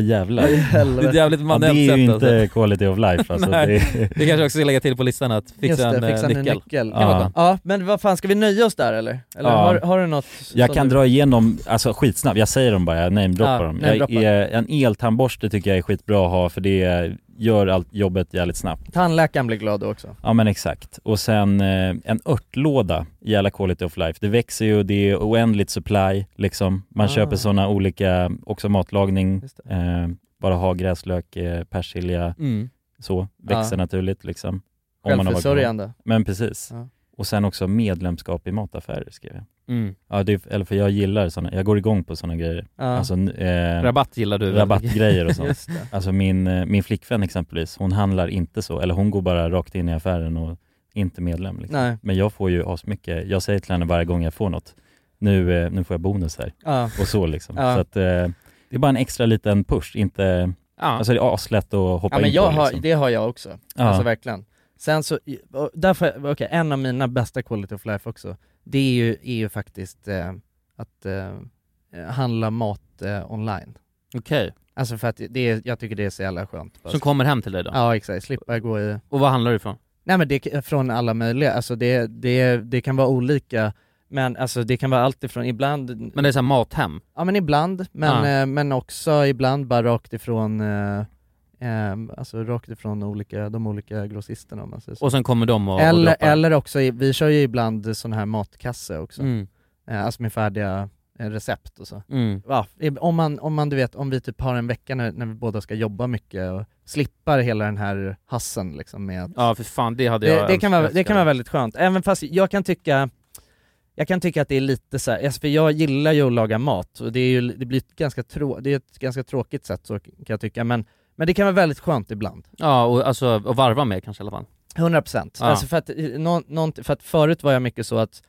C: jävlar.
B: Det är ett jävligt
C: ja, det är
B: manuellt
C: ju
B: sätt
C: inte
B: alltså.
C: quality of life alltså.
B: Nej.
C: det är...
B: Det kanske jag också ska lägga till på listan att fixa,
A: Just det,
B: en, eh,
A: fixa en
B: nyckel.
A: nyckel.
B: Kan vara
C: Ja.
B: skönt.
A: Ja, men vad fan, ska vi nöja oss där eller? Eller
C: Ja.
A: har, har du något?
C: Jag
A: som
C: kan
A: du...
C: dra igenom, alltså skitsnabbt, jag säger dem bara, jag namedroppar
A: Ja,
C: dem. Jag
A: namedroppar.
C: är, en eltandborste tycker jag är skitbra att ha för det gör allt jobbet jävligt snabbt.
A: Tandläkaren blir glad då också.
C: Ja men exakt. Och sen eh, en örtlåda i alla quality of life. Det växer ju, det är oändligt supply liksom. Man
A: Ah.
C: köper sådana olika, också matlagning, eh, bara ha gräslök, eh, persilja,
A: Mm.
C: så. Växer
A: Ja.
C: naturligt liksom. Om man har varit på-
A: Självförsörjande.
C: Men precis.
A: Ja.
C: Och sen också medlemskap i mataffärer skrev jag.
B: Mm.
C: Ja, det, eller för jag gillar sådana, jag går igång på sådana grejer.
B: Ja.
C: Alltså, n- eh,
B: Rabatt gillar du väldigt
C: Rabattgrejer och
B: Just
C: sånt.
B: det.
C: Alltså min, eh, min flickvän exempelvis, hon handlar inte så, eller hon går bara rakt in i affären och inte medlem. Liksom.
A: Nej.
C: Men jag får ju asmycket, jag säger till henne varje gång jag får något, nu, eh, nu får jag bonus här.
A: Ja.
C: Och så liksom.
A: Ja.
C: Så att, eh, det är bara en extra liten push, inte,
A: Ja.
C: alltså det är aslätt att hoppa
A: ja, men
C: in
A: jag
C: på.
A: har,
C: liksom.
A: Det har jag också,
C: Ja.
A: alltså verkligen. Sen så, och därför, okej, en av mina bästa quality of life också, det är ju, är ju faktiskt eh, att eh, handla mat eh, online.
B: Okej.
A: Alltså för att det, är- jag tycker det är så jävla skönt. Alltså,
B: Som kommer hem till dig då?
A: Ja exakt, slippa gå i...
B: Och vad handlar du ifrån?
A: Nej men det är från alla möjliga, alltså det, det, det kan vara olika, men alltså det kan vara allt ifrån ibland...
B: Men det är såhär mathem?
A: Ja men ibland, men,
B: Ah.
A: eh, men också ibland bara rakt ifrån eh, ehm, Alltså rakt ifrån olika, de olika grossisterna om man säger så.
B: Och sen kommer de och- och
A: Eller,
B: droppar.
A: eller också, i- vi kör ju ibland sån här matkasse också
B: Mm.
A: eh, Alltså med färdiga eh, recept och så
B: Mm.
A: ja, i- om, man, om man du vet, om vi typ har en vecka när, när vi båda ska jobba mycket och slipper hela den här hassen liksom med att
B: Ja för fan, det hade
A: det,
B: jag
A: det, kan vara, det
B: älskat.
A: kan vara väldigt skönt, även fast jag kan tycka jag kan tycka att det är lite så här, alltså, för jag gillar ju att laga mat och det, är ju, det blir ett ganska, trå, det är ett ganska tråkigt sätt så kan jag tycka, men, men det kan vara väldigt skönt ibland.
B: Ja, och alltså och varva med kanske i alla fall.
A: 100% procent.
B: Ja.
A: Alltså för, att, eh, nå- nånt- för att förut var jag mycket så att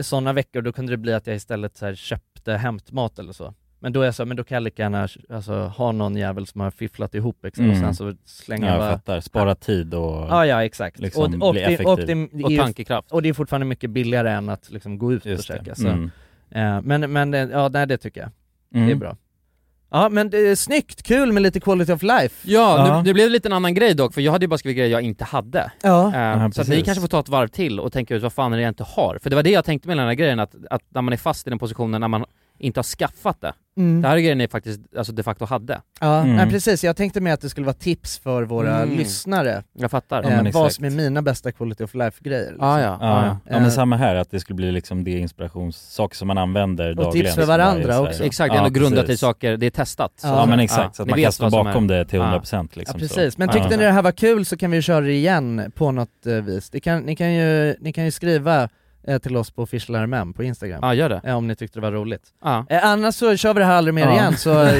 A: sådana veckor då kunde det bli att jag istället så här köpte hämtmat eller så. Men då är jag så här, men då kan jag lika gärna alltså, ha någon jävel som har fifflat ihop liksom, och sen
C: Mm.
A: så slänga
C: Ja, jag
A: bara-
C: fattar. Spara tid och
A: Ja, ja exakt.
C: liksom
A: och, och,
C: bli
A: det, och, det,
C: effektiv.
A: det
C: Och
A: är ju-
C: tankekraft.
A: Och det är fortfarande mycket billigare än att liksom gå ut och
C: Just det.
A: käka. Så.
C: Mm.
A: Eh, men, men eh, ja, nej, det tycker jag. Det är
B: Mm.
A: bra. Ja men det är snyggt, kul med lite quality of life.
B: Ja, Nu, nu blev det lite en annan grej dock, för jag hade ju bara skrivit grejer jag inte hade.
A: Ja.
B: Eh,
A: Ja,
B: så att
A: precis.
B: ni kanske får ta ett varv till och tänka ut vad fan är det jag inte har? För det var det jag tänkte med den här grejen, att, att när man är fast i den positionen när man inte har skaffat det.
A: Mm.
B: Det här är grejen ni faktiskt alltså, de facto hade.
A: Ja,
B: Mm.
A: nej, precis. Jag tänkte med att det skulle vara tips för våra
B: Mm.
A: lyssnare.
B: Jag fattar.
C: Ja, men
A: Eh, vad
C: exakt.
A: som är mina bästa quality of life-grejer. liksom.
C: Ah, ja. Ja,
A: Eh,
C: men samma här, att det skulle bli liksom det inspirationssaker som man använder dagligen.
A: tips för
C: som bara är
A: varandra
C: så här-
A: också.
B: Exakt,
C: Ja,
B: ändå grundat i
C: precis.
B: saker, det är testat.
C: Ja. Ja, men exakt, så att
B: ni
C: man kan
B: vet
C: stå
B: vad som
C: bakom
B: är.
C: det till 100% liksom.
A: Ja,
C: så.
A: precis, men tyckte
C: Ja.
A: ni det här var kul så kan vi ju köra det igen på något eh, vis. Det kan, ni, kan ju, ni kan ju skriva eh, till oss på fishlärmän på Instagram.
C: Ah,
B: Ja, gör det.
A: Eh, om ni tyckte det var roligt.
B: Ja.
A: Eh, annars så kör vi det här aldrig mer
B: Ja.
A: igen, så, så
C: Ja,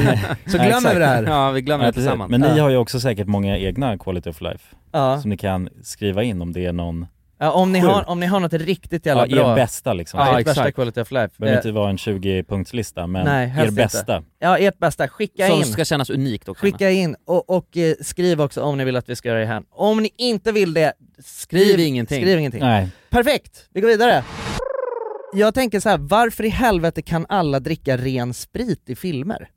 A: glömmer
C: exakt.
A: vi det här.
C: Ja, precis. Men ni har ju också säkert många egna quality of life
A: Ja.
C: som ni kan skriva in om det är någon
A: Ja, om, ni
C: sjuk.
A: har, om ni har något riktigt jävla
C: ja,
A: bra.
C: er bästa liksom.
A: Ja, ert bästa quality of life.
C: Behöver
A: Eh,
B: typ-
C: inte vara en 20-punktslista men
A: Nej,
C: er
A: helst
C: bästa.
A: Inte. Ja, ert bästa. Skicka
B: Som
A: in.
B: ska kännas unikt också.
A: Skicka in och, och eh, skriv också om ni vill att vi ska göra det här. Om ni inte vill det, skriv,
B: Skriv ingenting.
A: Skriv ingenting.
B: Nej.
A: Perfekt, vi går vidare. Jag tänker så här, varför i helvete kan alla dricka ren sprit i filmer?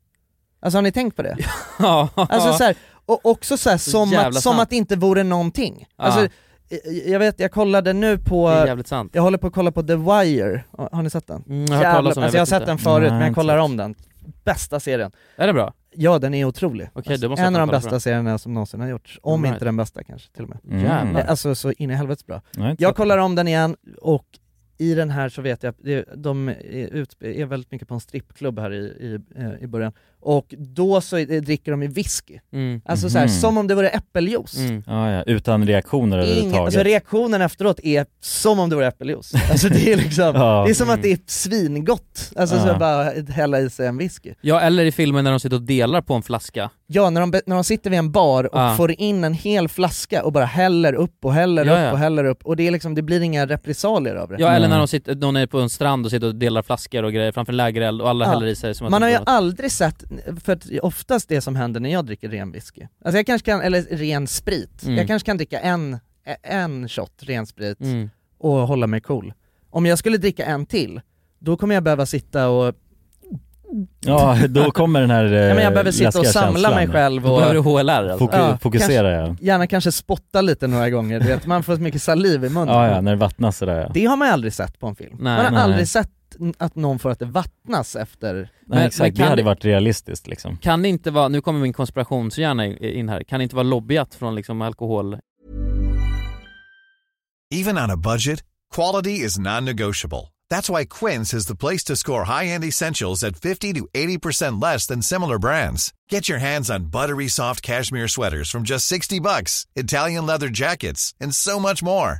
A: Alltså har ni tänkt på det?
B: Ja.
A: Alltså så här, och också så här,
B: Så
A: som,
B: jävla
A: att, som
B: sant.
A: att det inte vore någonting. Alltså, jag vet, jag kollade nu på...
B: Det är jävligt sant.
A: Jag håller på att kolla på The Wire, har har ni sett den?
B: Mm, jag har hört talas om den,
A: alltså jag
B: jag
A: har
B: vet
A: sett
B: inte.
A: den förut
B: Nej,
A: men jag
B: inte
A: kollar
B: sett.
A: om den. Bästa serien.
B: Är det bra?
A: Ja den är otrolig. Alltså,
B: Okej, då måste jag
A: en av
B: ta
A: de
B: och kolla på
A: bästa
B: den.
A: serierna som någonsin har gjorts, om
B: Right.
A: inte den bästa kanske till och med.
B: Mm. Jävlar.
A: Alltså så in i helvetes bra.
B: Nej, inte
A: jag
B: sett
A: kollar om den igen och i den här så vet jag, att det- de är, ut, är väldigt mycket på en strippklubb här i, i, eh, i början, och då så är- dricker de ju whisky.
B: Mm.
A: Alltså så här,
C: Mhm.
A: som om det vore äppeljuice.
C: Ja, ja. Utan reaktioner
A: Ingen,
C: överhuvudtaget.
A: alltså reaktionen efteråt är som om det vore äppeljuice. Alltså det är liksom,
C: Ja.
A: det är som att det är svingott. Alltså så
B: Ja.
A: bara hälla i sig en whisky.
B: Ja, eller i filmen när de sitter och delar på en flaska.
A: Ja, när de, be- när de sitter vid en bar och
B: Ja.
A: får in en hel flaska och bara häller upp och häller
B: Ja,
A: upp
B: ja.
A: och häller upp och det är liksom, det blir inga repressalier av det.
B: Ja, eller när de sitter, någon är på en strand och sitter och delar flaskor och grejer framför en lägereld och alla
A: Ja.
B: häller i sig som att
A: Man
B: det
A: har ju
B: var-
A: aldrig sett, för att oftast det som händer när jag dricker ren whisky, alltså jag kanske kan, eller ren sprit,
B: Mm.
A: jag kanske kan dricka en, en shot ren sprit
B: Mm.
A: och hålla mig cool. Om jag skulle dricka en till, då kommer jag behöva sitta och
C: Ja, då kommer den här eh,
A: Ja, men jag behöver sitta och
C: läskiga
A: samla
C: känslan.
A: mig själv och...
B: Alltså.
C: Foku- fokusera ja.
A: kanske, Gärna kanske spotta lite några gånger, du vet, man får så mycket saliv i munnen.
C: Ja, ja, när det vattnas sådär ja.
A: Det har man ju aldrig sett på en film.
C: Nej,
A: man har
C: nej.
A: aldrig sett n- att någon får att det vattnas efter...
C: Nej, exakt, det
B: kan
C: hade
B: det-
C: varit realistiskt liksom.
B: Kan det inte vara, nu kommer min konspirationshjärna in här, kan det inte vara lobbyat från liksom alkohol...
I: Even on a budget, quality is non-negotiable. That's why Quince is the place to score high-end essentials at 50 to 80% less than similar brands. Get your hands on buttery soft cashmere sweaters from just 60 bucks, Italian leather jackets, and so much more.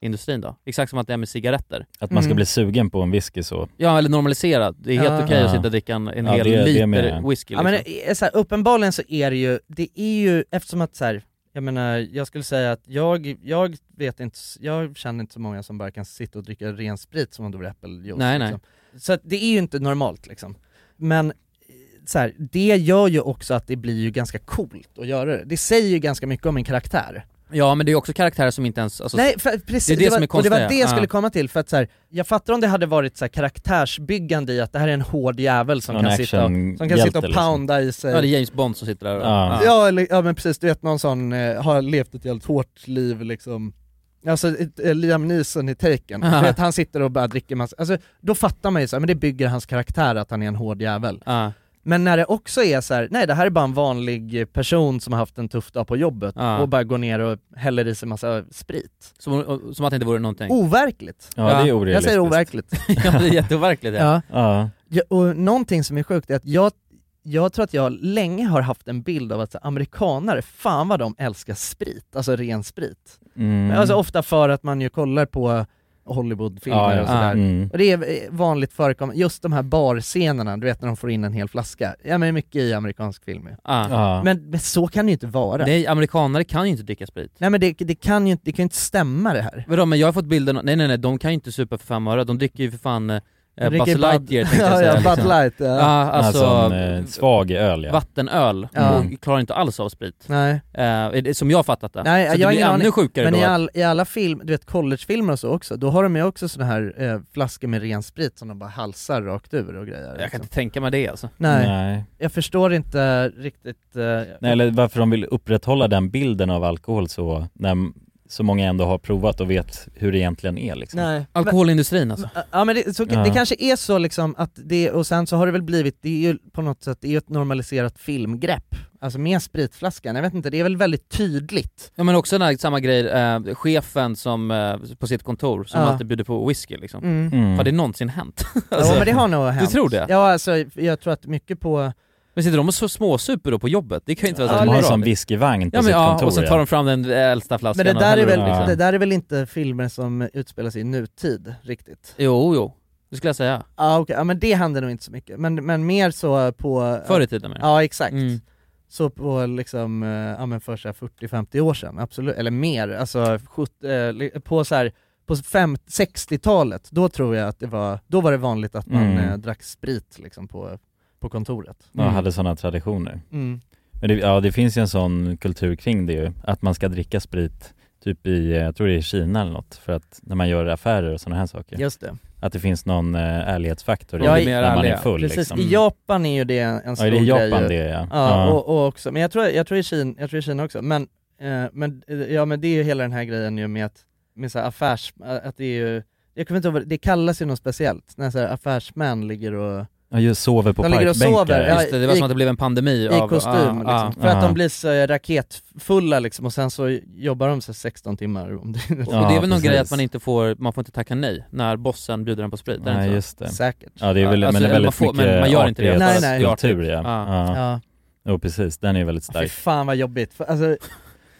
B: industrin då? Exakt som att det är med cigaretter.
C: Att man ska bli sugen på en whisky så.
B: Ja, eller normaliserat. Det är helt
C: Ja.
B: okej att
C: Ja.
B: sitta och dricka en, en
C: Ja,
B: hel
C: det- det
B: liter
C: menar jag.
B: whisky
A: Ah. Ja,
B: liksom.
A: men det är så här, uppenbarligen så är det ju, det är ju eftersom att så här, jag menar, jag skulle säga att jag, jag vet inte, s- jag känner inte så många som bara kan sitta och dricka ren sprit som om det vore äppeljuice.
B: Nej, nej.
A: liksom. Så att det är ju inte normalt liksom. Men eh, så här, det gör ju också att det blir ju ganska coolt att göra det. Det säger ju ganska mycket om en karaktär.
B: Ja men det är också karaktärer som inte ens, alltså,
A: Nej, för, precis,
B: det är det, som är
A: var, och det
B: konstiga.
A: var det jag skulle
B: Ja.
A: komma till, för att så här, jag fattar om det hade varit så här karaktärsbyggande i att det här är en hård jävel som
B: En
A: kan sitta och, som kan
B: actionhjälte
A: sitta och
B: liksom.
A: pounda i sig
B: Ja det är James Bond som sitter där och,
A: Ja,
C: Ah.
A: ja, eller, ja men precis, du vet någon sån eh, har levt ett jävligt hårt liv liksom Alltså ett- eh, Liam Neeson i Taken,
B: Ja.
A: du vet, han sitter och bara dricker massa, alltså då fattar man ju så här, men det bygger hans karaktär att han är en hård jävel
B: Ja.
A: Men när det också är så här, nej det här är bara en vanlig person som har haft en tuff dag på jobbet
B: Ja.
A: och bara går ner och häller i sig massa sprit
B: Som, och- som att det inte vore någonting.
A: Oh. Overkligt! Jag säger overkligt
B: ja det är jätteoverkligt det.
A: Ja. Ja, och någonting som är sjukt är att jag, jag tror att jag länge har haft en bild av att så, amerikanare, fan vad de älskar sprit, alltså ren sprit.
C: Mm.
A: Men Alltså ofta för att man ju kollar på Hollywoodfilmer
C: Ja, ja.
A: och sådär.
C: Ah, mm.
A: Och det är eh, vanligt förekommande, just de här barscenerna, du vet när de får in en hel flaska. Ja men mycket i amerikansk film ju.
B: Ja. Ja.
A: Men, men så kan det ju inte vara.
B: Ah. Nej, amerikanare kan ju inte dricka sprit.
A: Nej men det, det kan ju inte, det kan ju inte stämma det här.
B: Vadå men jag har fått bilden, nej nej nej, de kan ju inte supa för fem öre, de dricker ju för fan eh, eh,
A: Dricker
B: Buzz
A: Bud-
B: Lightyear tänkte jag
A: Ja,
B: säga. liksom.
A: ja, Bud Light, ja.
B: Ja, alltså,
A: Alltså en, eh,
C: svag öl, ja.
B: Vattenöl,
A: Ja.
B: och klarar inte alls av sprit.
A: Nej.
B: Eh, är det- som jag har fattat det.
A: Nej,
B: så
A: jag har
B: det blir
A: ingen
B: ännu
A: aning.
B: sjukare
A: Men
B: då.
A: i,
B: att-
A: all, i alla film, du vet collegefilmer och så också, då har de ju också såna här eh, flaskor med ren sprit som de bara halsar rakt ur och grejer. liksom.
B: Jag kan inte tänka mig det alltså.
A: Nej.
C: Nej.
A: Jag förstår inte riktigt... eh,
C: Nej, eller varför de vill upprätthålla den bilden av alkohol så, när m- så många ändå har provat och vet hur det egentligen är liksom.
A: Nej.
B: Alkoholindustrin alltså.
A: Ja men det, så,
C: Ja.
A: det kanske är så liksom att det, och sen så har det väl blivit, det är ju på något sätt, det är ju ett normaliserat filmgrepp. Alltså med spritflaskan, jag vet inte, det är väl väldigt tydligt.
B: Ja men också den här, samma grej, eh, chefen som, eh, på sitt kontor som
A: Ja.
B: alltid bjuder på whisky liksom.
A: Mm. Mm.
B: Har det någonsin hänt? Alltså,
A: ja men det har nog hänt.
B: Du tror det?
A: Ja alltså, jag tror att mycket på...
B: Men sitter de och så småsuper då på jobbet? Det kan ju inte vara
A: Ja,
B: så
A: de har en
B: bra.
A: sån
C: whiskyvagn på
B: ja, men,
C: sitt
B: ja,
C: kontor,
B: och sen tar
C: ja.
B: de fram den äldsta flaskan
A: Men det
B: och
A: där, är
B: häller
A: väl,
B: upp, liksom.
A: det där är väl inte filmer som utspelar sig i nutid riktigt?
B: Jo, jo. Det skulle jag säga.
A: Ja okej, ja, men det händer nog inte så mycket. Men, men mer så på...
B: Förr i tiden, menar du?
A: Ja exakt.
B: Mm.
A: Så på liksom, eh, ja men för så här 40-50 år sedan, absolut, eller mer, alltså sjut- eh, li- på så här, på fem- 60-talet, då tror jag att det var, då var det vanligt att man
C: Mm.
A: eh, drack sprit liksom på, på kontoret.
C: Ja,
B: Mm.
C: hade sådana traditioner.
A: Mm.
C: Men det, ja, det finns ju en sån kultur kring det ju, att man ska dricka sprit typ i, eh, jag tror det är i Kina eller något, för att när man gör affärer och sådana här saker.
A: Just det.
C: Att det finns någon eh, ärlighetsfaktor i
A: Ja, i-
C: när man är full
A: Precis,
C: liksom.
A: i Japan är ju det en stor
C: Ja, det är
A: grej
C: Japan
A: ju.
C: det är, ja.
A: ja.
C: Ja.
A: Och, och också, men jag tror, jag tror i Kina, jag tror i Kina också, men, eh, men, eh, ja men det är ju hela den här grejen ju med att, med så här affärs, eh, att det är ju, jag kommer inte ihåg, vad det- det kallas ju något speciellt, när så här affärsmän ligger och
C: Ja, just sover på
A: De ligger och
C: parkbänkar.
A: sover, ja,
B: Just det, det var som att det blev en pandemi
A: i
B: av...
A: kostym
B: ah,
A: liksom.
B: ah.
A: För att
B: Ah.
A: de blir så eh, raketfulla liksom och sen så jobbar de så här 16 timmar om det
B: Och det är väl någon grej att man inte får, man får inte tacka nej när bossen bjuder en på sprit? är
C: Nej,
B: inte så?
C: just det.
A: Säkert.
C: Ja, det är väl,
B: Alltså,
C: men det är
B: eller man
C: väldigt
B: får-
C: mycket
B: men man gör inte det.
C: artighets-
A: Nej, nej.
C: kultur, ja.
A: Ja.
C: Ja. Jo, precis. Den är väldigt
A: Fy
C: stark.
A: fan vad jobbigt, För, alltså,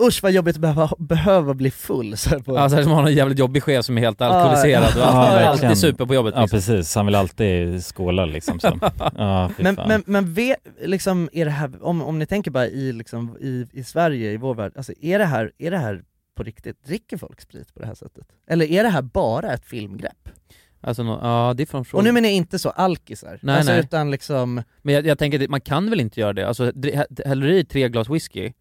A: usch vad jobbigt att behöva, behöva bli full så här på
B: Ja, särskilt om man har en jävligt jobbig chef som är helt
A: Ja,
B: alkoholiserad och alltid,
C: verkligen.
B: alltid super på jobbet.
C: Ja,
B: liksom.
C: precis. Han vill alltid skåla liksom. Så. Ja, fy
A: men,
C: fan.
A: men, men ve, liksom, är det här, om, om ni tänker bara i, liksom, i, i Sverige, i vår värld, alltså, är, det här, är det här på riktigt? Dricker folk sprit på det här sättet? Eller är det här bara ett filmgrepp?
B: Alltså, nå- ja, det är från
A: Och nu menar jag inte så alkisar,
B: Nej,
A: alltså,
B: nej.
A: utan liksom...
B: Men jag, jag tänker att man kan väl inte göra det? Alltså, dri- hä- häller du i tre glas whisky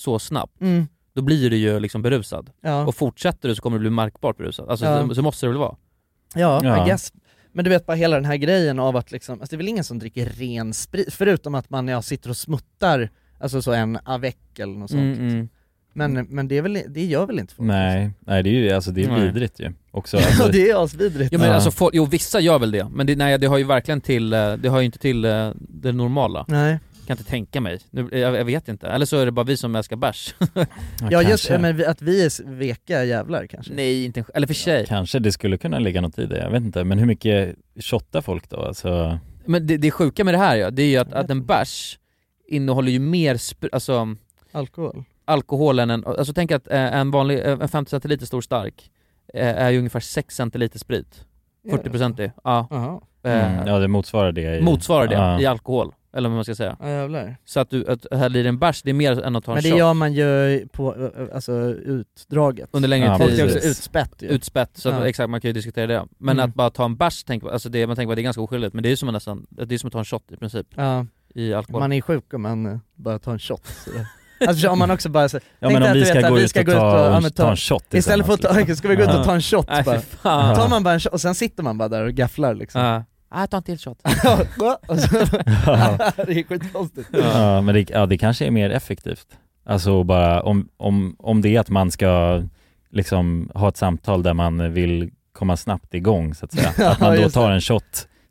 B: så snabbt,
A: Mm.
B: då blir du ju liksom berusad.
A: Ja.
B: Och fortsätter du så kommer du bli märkbart berusad. Alltså,
A: Ja.
B: så, så måste det väl vara?
A: Ja, I guess. Men du vet bara hela den här grejen av att liksom, alltså det är väl ingen som dricker ren sprit, förutom att man ja, sitter och smuttar, alltså så en avec eller något sånt.
B: Mm,
A: liksom.
B: mm.
A: Men, men det, är väl, det gör väl inte folk?
C: Nej, nej det är ju alltså, det är
B: Nej.
C: vidrigt ju. Också, alltså,
A: Ja, det är asvidrigt.
B: Jo men
C: Ja.
B: alltså, folk, jo vissa gör väl det, men det, nej, det har ju verkligen till, eh, det har ju inte till eh, det normala.
A: Nej.
B: Kan inte tänka mig. Nu, eh, jag, jag vet inte. Eller så är det bara vi som älskar bärs.
A: Ja just det, men vi- att vi är s- veka jävlar kanske.
B: Nej, inte en sk- eller för sig.
C: Kanske det skulle kunna ligga något i det, jag vet inte. Men hur mycket shottar folk då? Alltså,
B: Men det, det sjuka med det här ja, det är ju att, att en bärs innehåller ju mer spr- alltså,
A: Alkohol.
B: alkoholen än, alltså tänk att eh, en vanlig, eh, en 50 centiliter stor stark eh, är ju ungefär 6 centiliter sprit.
A: Ja.
B: 40% i, ja. Eh,
C: mm, ja, det motsvarar det. I,
B: Motsvarar det
C: Ja.
B: i alkohol, eller vad man ska säga.
A: Ja, jävlar.
B: Så att du att häller i en bärs, det är mer än att ta en
A: Men det
B: shot.
A: gör man ju på, eh, alltså utdraget.
B: Under längre tid.
A: Folk är också utspätt ju.
B: Utspätt, så att,
A: Ja.
B: exakt man kan ju diskutera det. Men
A: Mm.
B: att bara ta en bärs, tänk, alltså det, man tänker att det är ganska oskyldigt, men det är ju som att nästan, det är som att ta en shot i princip.
A: Ja.
B: I alkohol.
A: Man är sjuk om man eh, bara tar en shot. så det- Alltså om man också bara så,
C: Ja,
A: tänk
C: men om
A: dig att
C: vi
A: du
C: ska
A: vet att
C: gå
A: vi
C: ut
A: ska
C: och
A: gå ut och,
C: ta-
A: ja, men
C: ta en shot
A: Istället för att ta,
C: tillsammans,
A: ska vi gå ut och ta en
C: liksom.
A: shot
C: Ja.
A: bara.
C: Nej, fy fan.
A: Tar man bara en shot och sen sitter man bara där och gafflar liksom.
B: Ja. Ah, ta en till shot.
A: och så,
C: Ja.
A: det är skitkonstigt.
C: Ja, men det, ja, det kanske är mer effektivt. Alltså bara om, om, om det är att man ska liksom ha ett samtal där man vill komma snabbt igång så att säga. Att man
A: Ja,
C: då
A: just
C: tar en shot,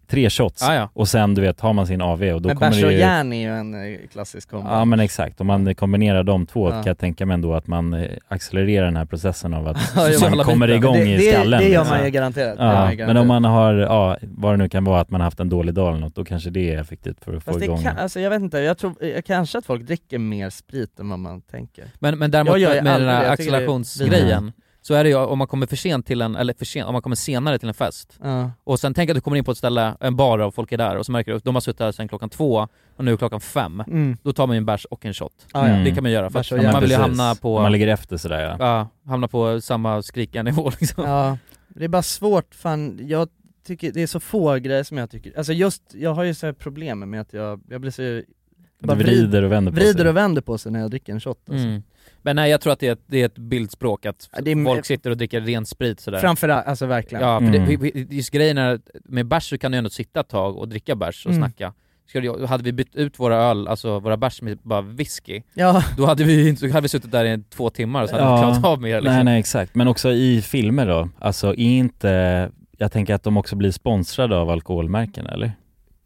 C: tre shots
A: Ja, ja.
C: och sen du vet har man sin AV och då
A: Men
C: kommer
A: bärs och
C: det ju...
A: järn är ju en eh, klassisk kombo.
C: Ja men exakt, om man kombinerar de två
A: Ja.
C: kan jag tänka mig ändå att man eh, accelererar den här processen av att
A: Ja, jo,
C: man
A: alla
C: kommer
A: bitar.
C: igång
A: Det-
C: i
A: det-
C: skallen.
A: det gör
C: liksom.
A: man ju garanterat. Det gör man
C: Ja,
A: ju
C: men om man har, ja, vad det nu kan vara, att man har haft en dålig dag eller något, då kanske det är effektivt för att få
A: Fast det
C: igång
A: kan, alltså jag vet inte, jag tror eh, kanske att folk dricker mer sprit än vad man tänker.
B: Men, men däremot
A: Jag gör ju
B: med, med den
A: aldrig
B: här
A: det. Jag tycker det är
B: accelerationsgrejen,
A: vidrigt.
B: så är det ju om man kommer för sent till en, eller för sent, om man kommer senare till en fest,
A: Ja.
B: och sen tänk att du kommer in på ett ställe, en bar och folk är där, och så märker du att de har suttit här sedan klockan två, och nu är klockan fem,
A: Mm.
B: då tar man ju en bärs och en shot.
A: Ja, ja.
C: Mm.
B: Det kan man göra, för
A: Mm. Bärs och
B: att
A: järn.
B: man vill ju
C: Precis.
B: hamna på...
C: Man ligger efter sådär ja.
B: ja. hamna på samma skrikarnivå liksom.
A: Ja, det är bara svårt, fan, jag tycker det är så få grejer som jag tycker, alltså just, jag har ju så här problem med att jag, jag blir så bara
C: vrider och vänder på
A: vrider
C: sig.
A: och vänder på sig när jag dricker en shot alltså.
B: Mm. Men nej, jag tror att det är ett, det är ett bildspråk att
A: det är-
B: folk sitter och dricker ren sprit sådär.
A: Framförallt, alltså verkligen.
B: Ja, för
A: Mm.
B: det, just grejen är, att med bärs så kan du ändå sitta ett tag och dricka bärs och
A: Mm.
B: snacka. Skulle jag- Hade vi bytt ut våra öl, alltså våra bärs med bara whisky,
A: Ja.
B: då hade vi, ju inte- då hade vi suttit där i två timmar och så hade vi klarat av mer liksom.
C: Nej nej exakt, men också i filmer då, alltså är inte, jag tänker att de också blir sponsrade av alkoholmärken eller?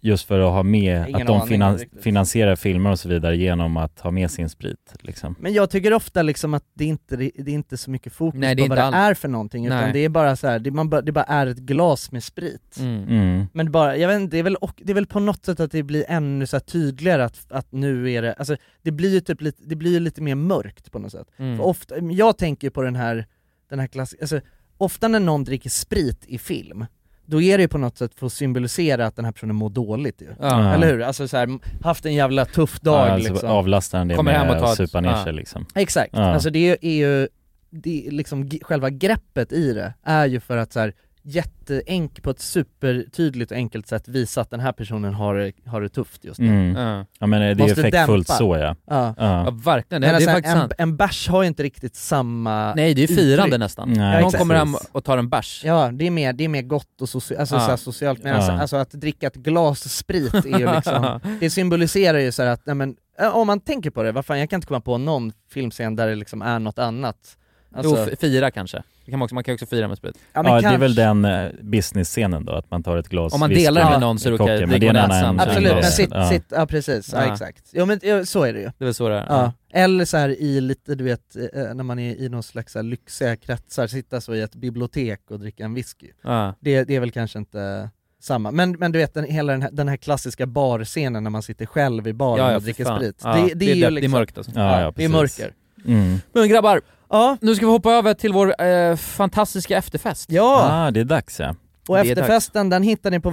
C: Just för att ha med,
A: Ingen
C: att de
A: aning
C: finan-
A: riktigt.
C: finansierar filmer och så vidare genom att ha med sin sprit liksom.
A: Men jag tycker ofta liksom att det inte det är inte så mycket fokus
B: Nej, det
A: på
B: är
A: vad
B: inte
A: det
B: allt.
A: är för någonting,
B: Nej.
A: utan det är bara så här, det, man, bara- det bara är ett glas med sprit.
B: Mm.
C: Mm.
A: Men bara, jag vet inte, det är väl, och, det är väl på något sätt att det blir ännu så här tydligare att, att nu är det, alltså det blir ju typ lite, det blir ju lite mer mörkt på något sätt.
B: Mm.
A: För ofta, jag tänker ju på den här, den här klass, alltså ofta när någon dricker sprit i film, då är det ju på något sätt för att symbolisera att den här personen mår dåligt ju.
C: Ja.
A: Eller hur? Alltså så här, haft en jävla tuff
C: Ja,
A: dag
C: alltså
A: liksom.
C: avlastar han det
B: Kommer hem och
C: med
B: tar
C: att
B: ett-
C: supa ner
B: ja.
C: sig liksom.
A: Exakt,
C: Ja.
A: alltså det är ju, det är liksom g- själva greppet i det är ju för att så här jätteenk på ett supertydligt och enkelt sätt visa att den här personen har, det- har det tufft just nu.
C: Mm.
B: Ja.
C: Ja men det är ju
A: Måste
C: effektfullt
A: dämpa.
C: så ja.
A: Ja.
B: Ja, verkligen, det,
A: Men
B: det är
A: alltså,
B: faktiskt
A: en,
B: sant.
A: en bärs har ju inte riktigt samma
B: Nej, det är ju firande
A: uttryck.
B: nästan.
C: Nej,
B: Någon
A: exakt.
B: kommer hem och tar en bärs.
A: Ja, det är mer, det är mer gott och soci- alltså,
B: Ja.
A: så här socialt, medan
B: Ja.
A: alltså, att dricka ett glas sprit är ju liksom, det symboliserar ju så här att, nej, men, eh, om man tänker på det, vad fan, jag kan inte komma på någon filmscen där det liksom är något annat. Alltså,
B: Jo, f- fira kanske. Det kan man, också, man kan också fira med sprit.
A: ja,
C: Ja,
A: men
C: det är
A: kanske-
C: väl den eh, business-scenen då, att man tar ett glas
B: Om man
C: whisky
B: delar det med någon så är det okej,
C: kocken, men
B: dricker
C: det är
B: man
C: en
B: ensam
C: annan
B: så är det
A: Absolut,
B: Ja.
A: men sitt, sitt,
C: ja.
A: ja precis, ja.
B: Ja.
A: exakt. Ja men ja, så är det ju.
B: Det är väl så det är.
A: Ja. Eller så här i lite, du vet, eh, när man är i någon slags så här lyxiga kretsar, sitta så i ett bibliotek och dricka en whisky.
B: Ja.
A: Det, det är väl kanske inte samma, men, men du vet den, hela den här, den här klassiska barscenen när man sitter själv i baren
B: Ja, ja,
A: och
B: för
A: dricker
B: fan.
A: sprit.
B: Ja,
A: det,
B: det är
A: är ju
B: depp- det är
A: liksom,
B: mörkt alltså.
C: Ja, ja,
A: det är
C: precis.
A: mörker.
C: Mm.
B: Men grabbar,
A: Ja,
B: nu ska vi hoppa över till vår eh, fantastiska efterfest.
A: ja.
C: Ah, det är dags ja.
A: och
B: det är
A: efterfesten den hittar ni på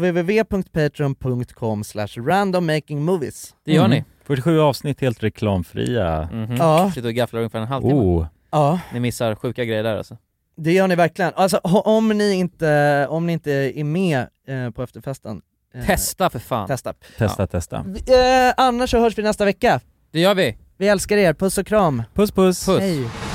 A: www.patreon.com slash randommakingmovies.
B: Det gör
C: Mm.
B: ni.
C: 47 avsnitt helt reklamfria.
B: Mhm.
A: Ja.
B: Sitter och gafflar ungefär en halvtimme.
C: Oh.
A: Ja.
B: Ni missar sjuka grejer där alltså.
A: Det gör ni verkligen. Alltså ho- om ni inte, om ni inte är med eh, på efterfesten, eh,
B: Testa för fan.
A: testa.
C: Testa, testa.
A: Vi- Eh, annars så hörs vi nästa vecka.
B: Det gör vi.
A: Vi älskar er, puss och kram.
C: Puss puss!
B: Puss.
A: Hej.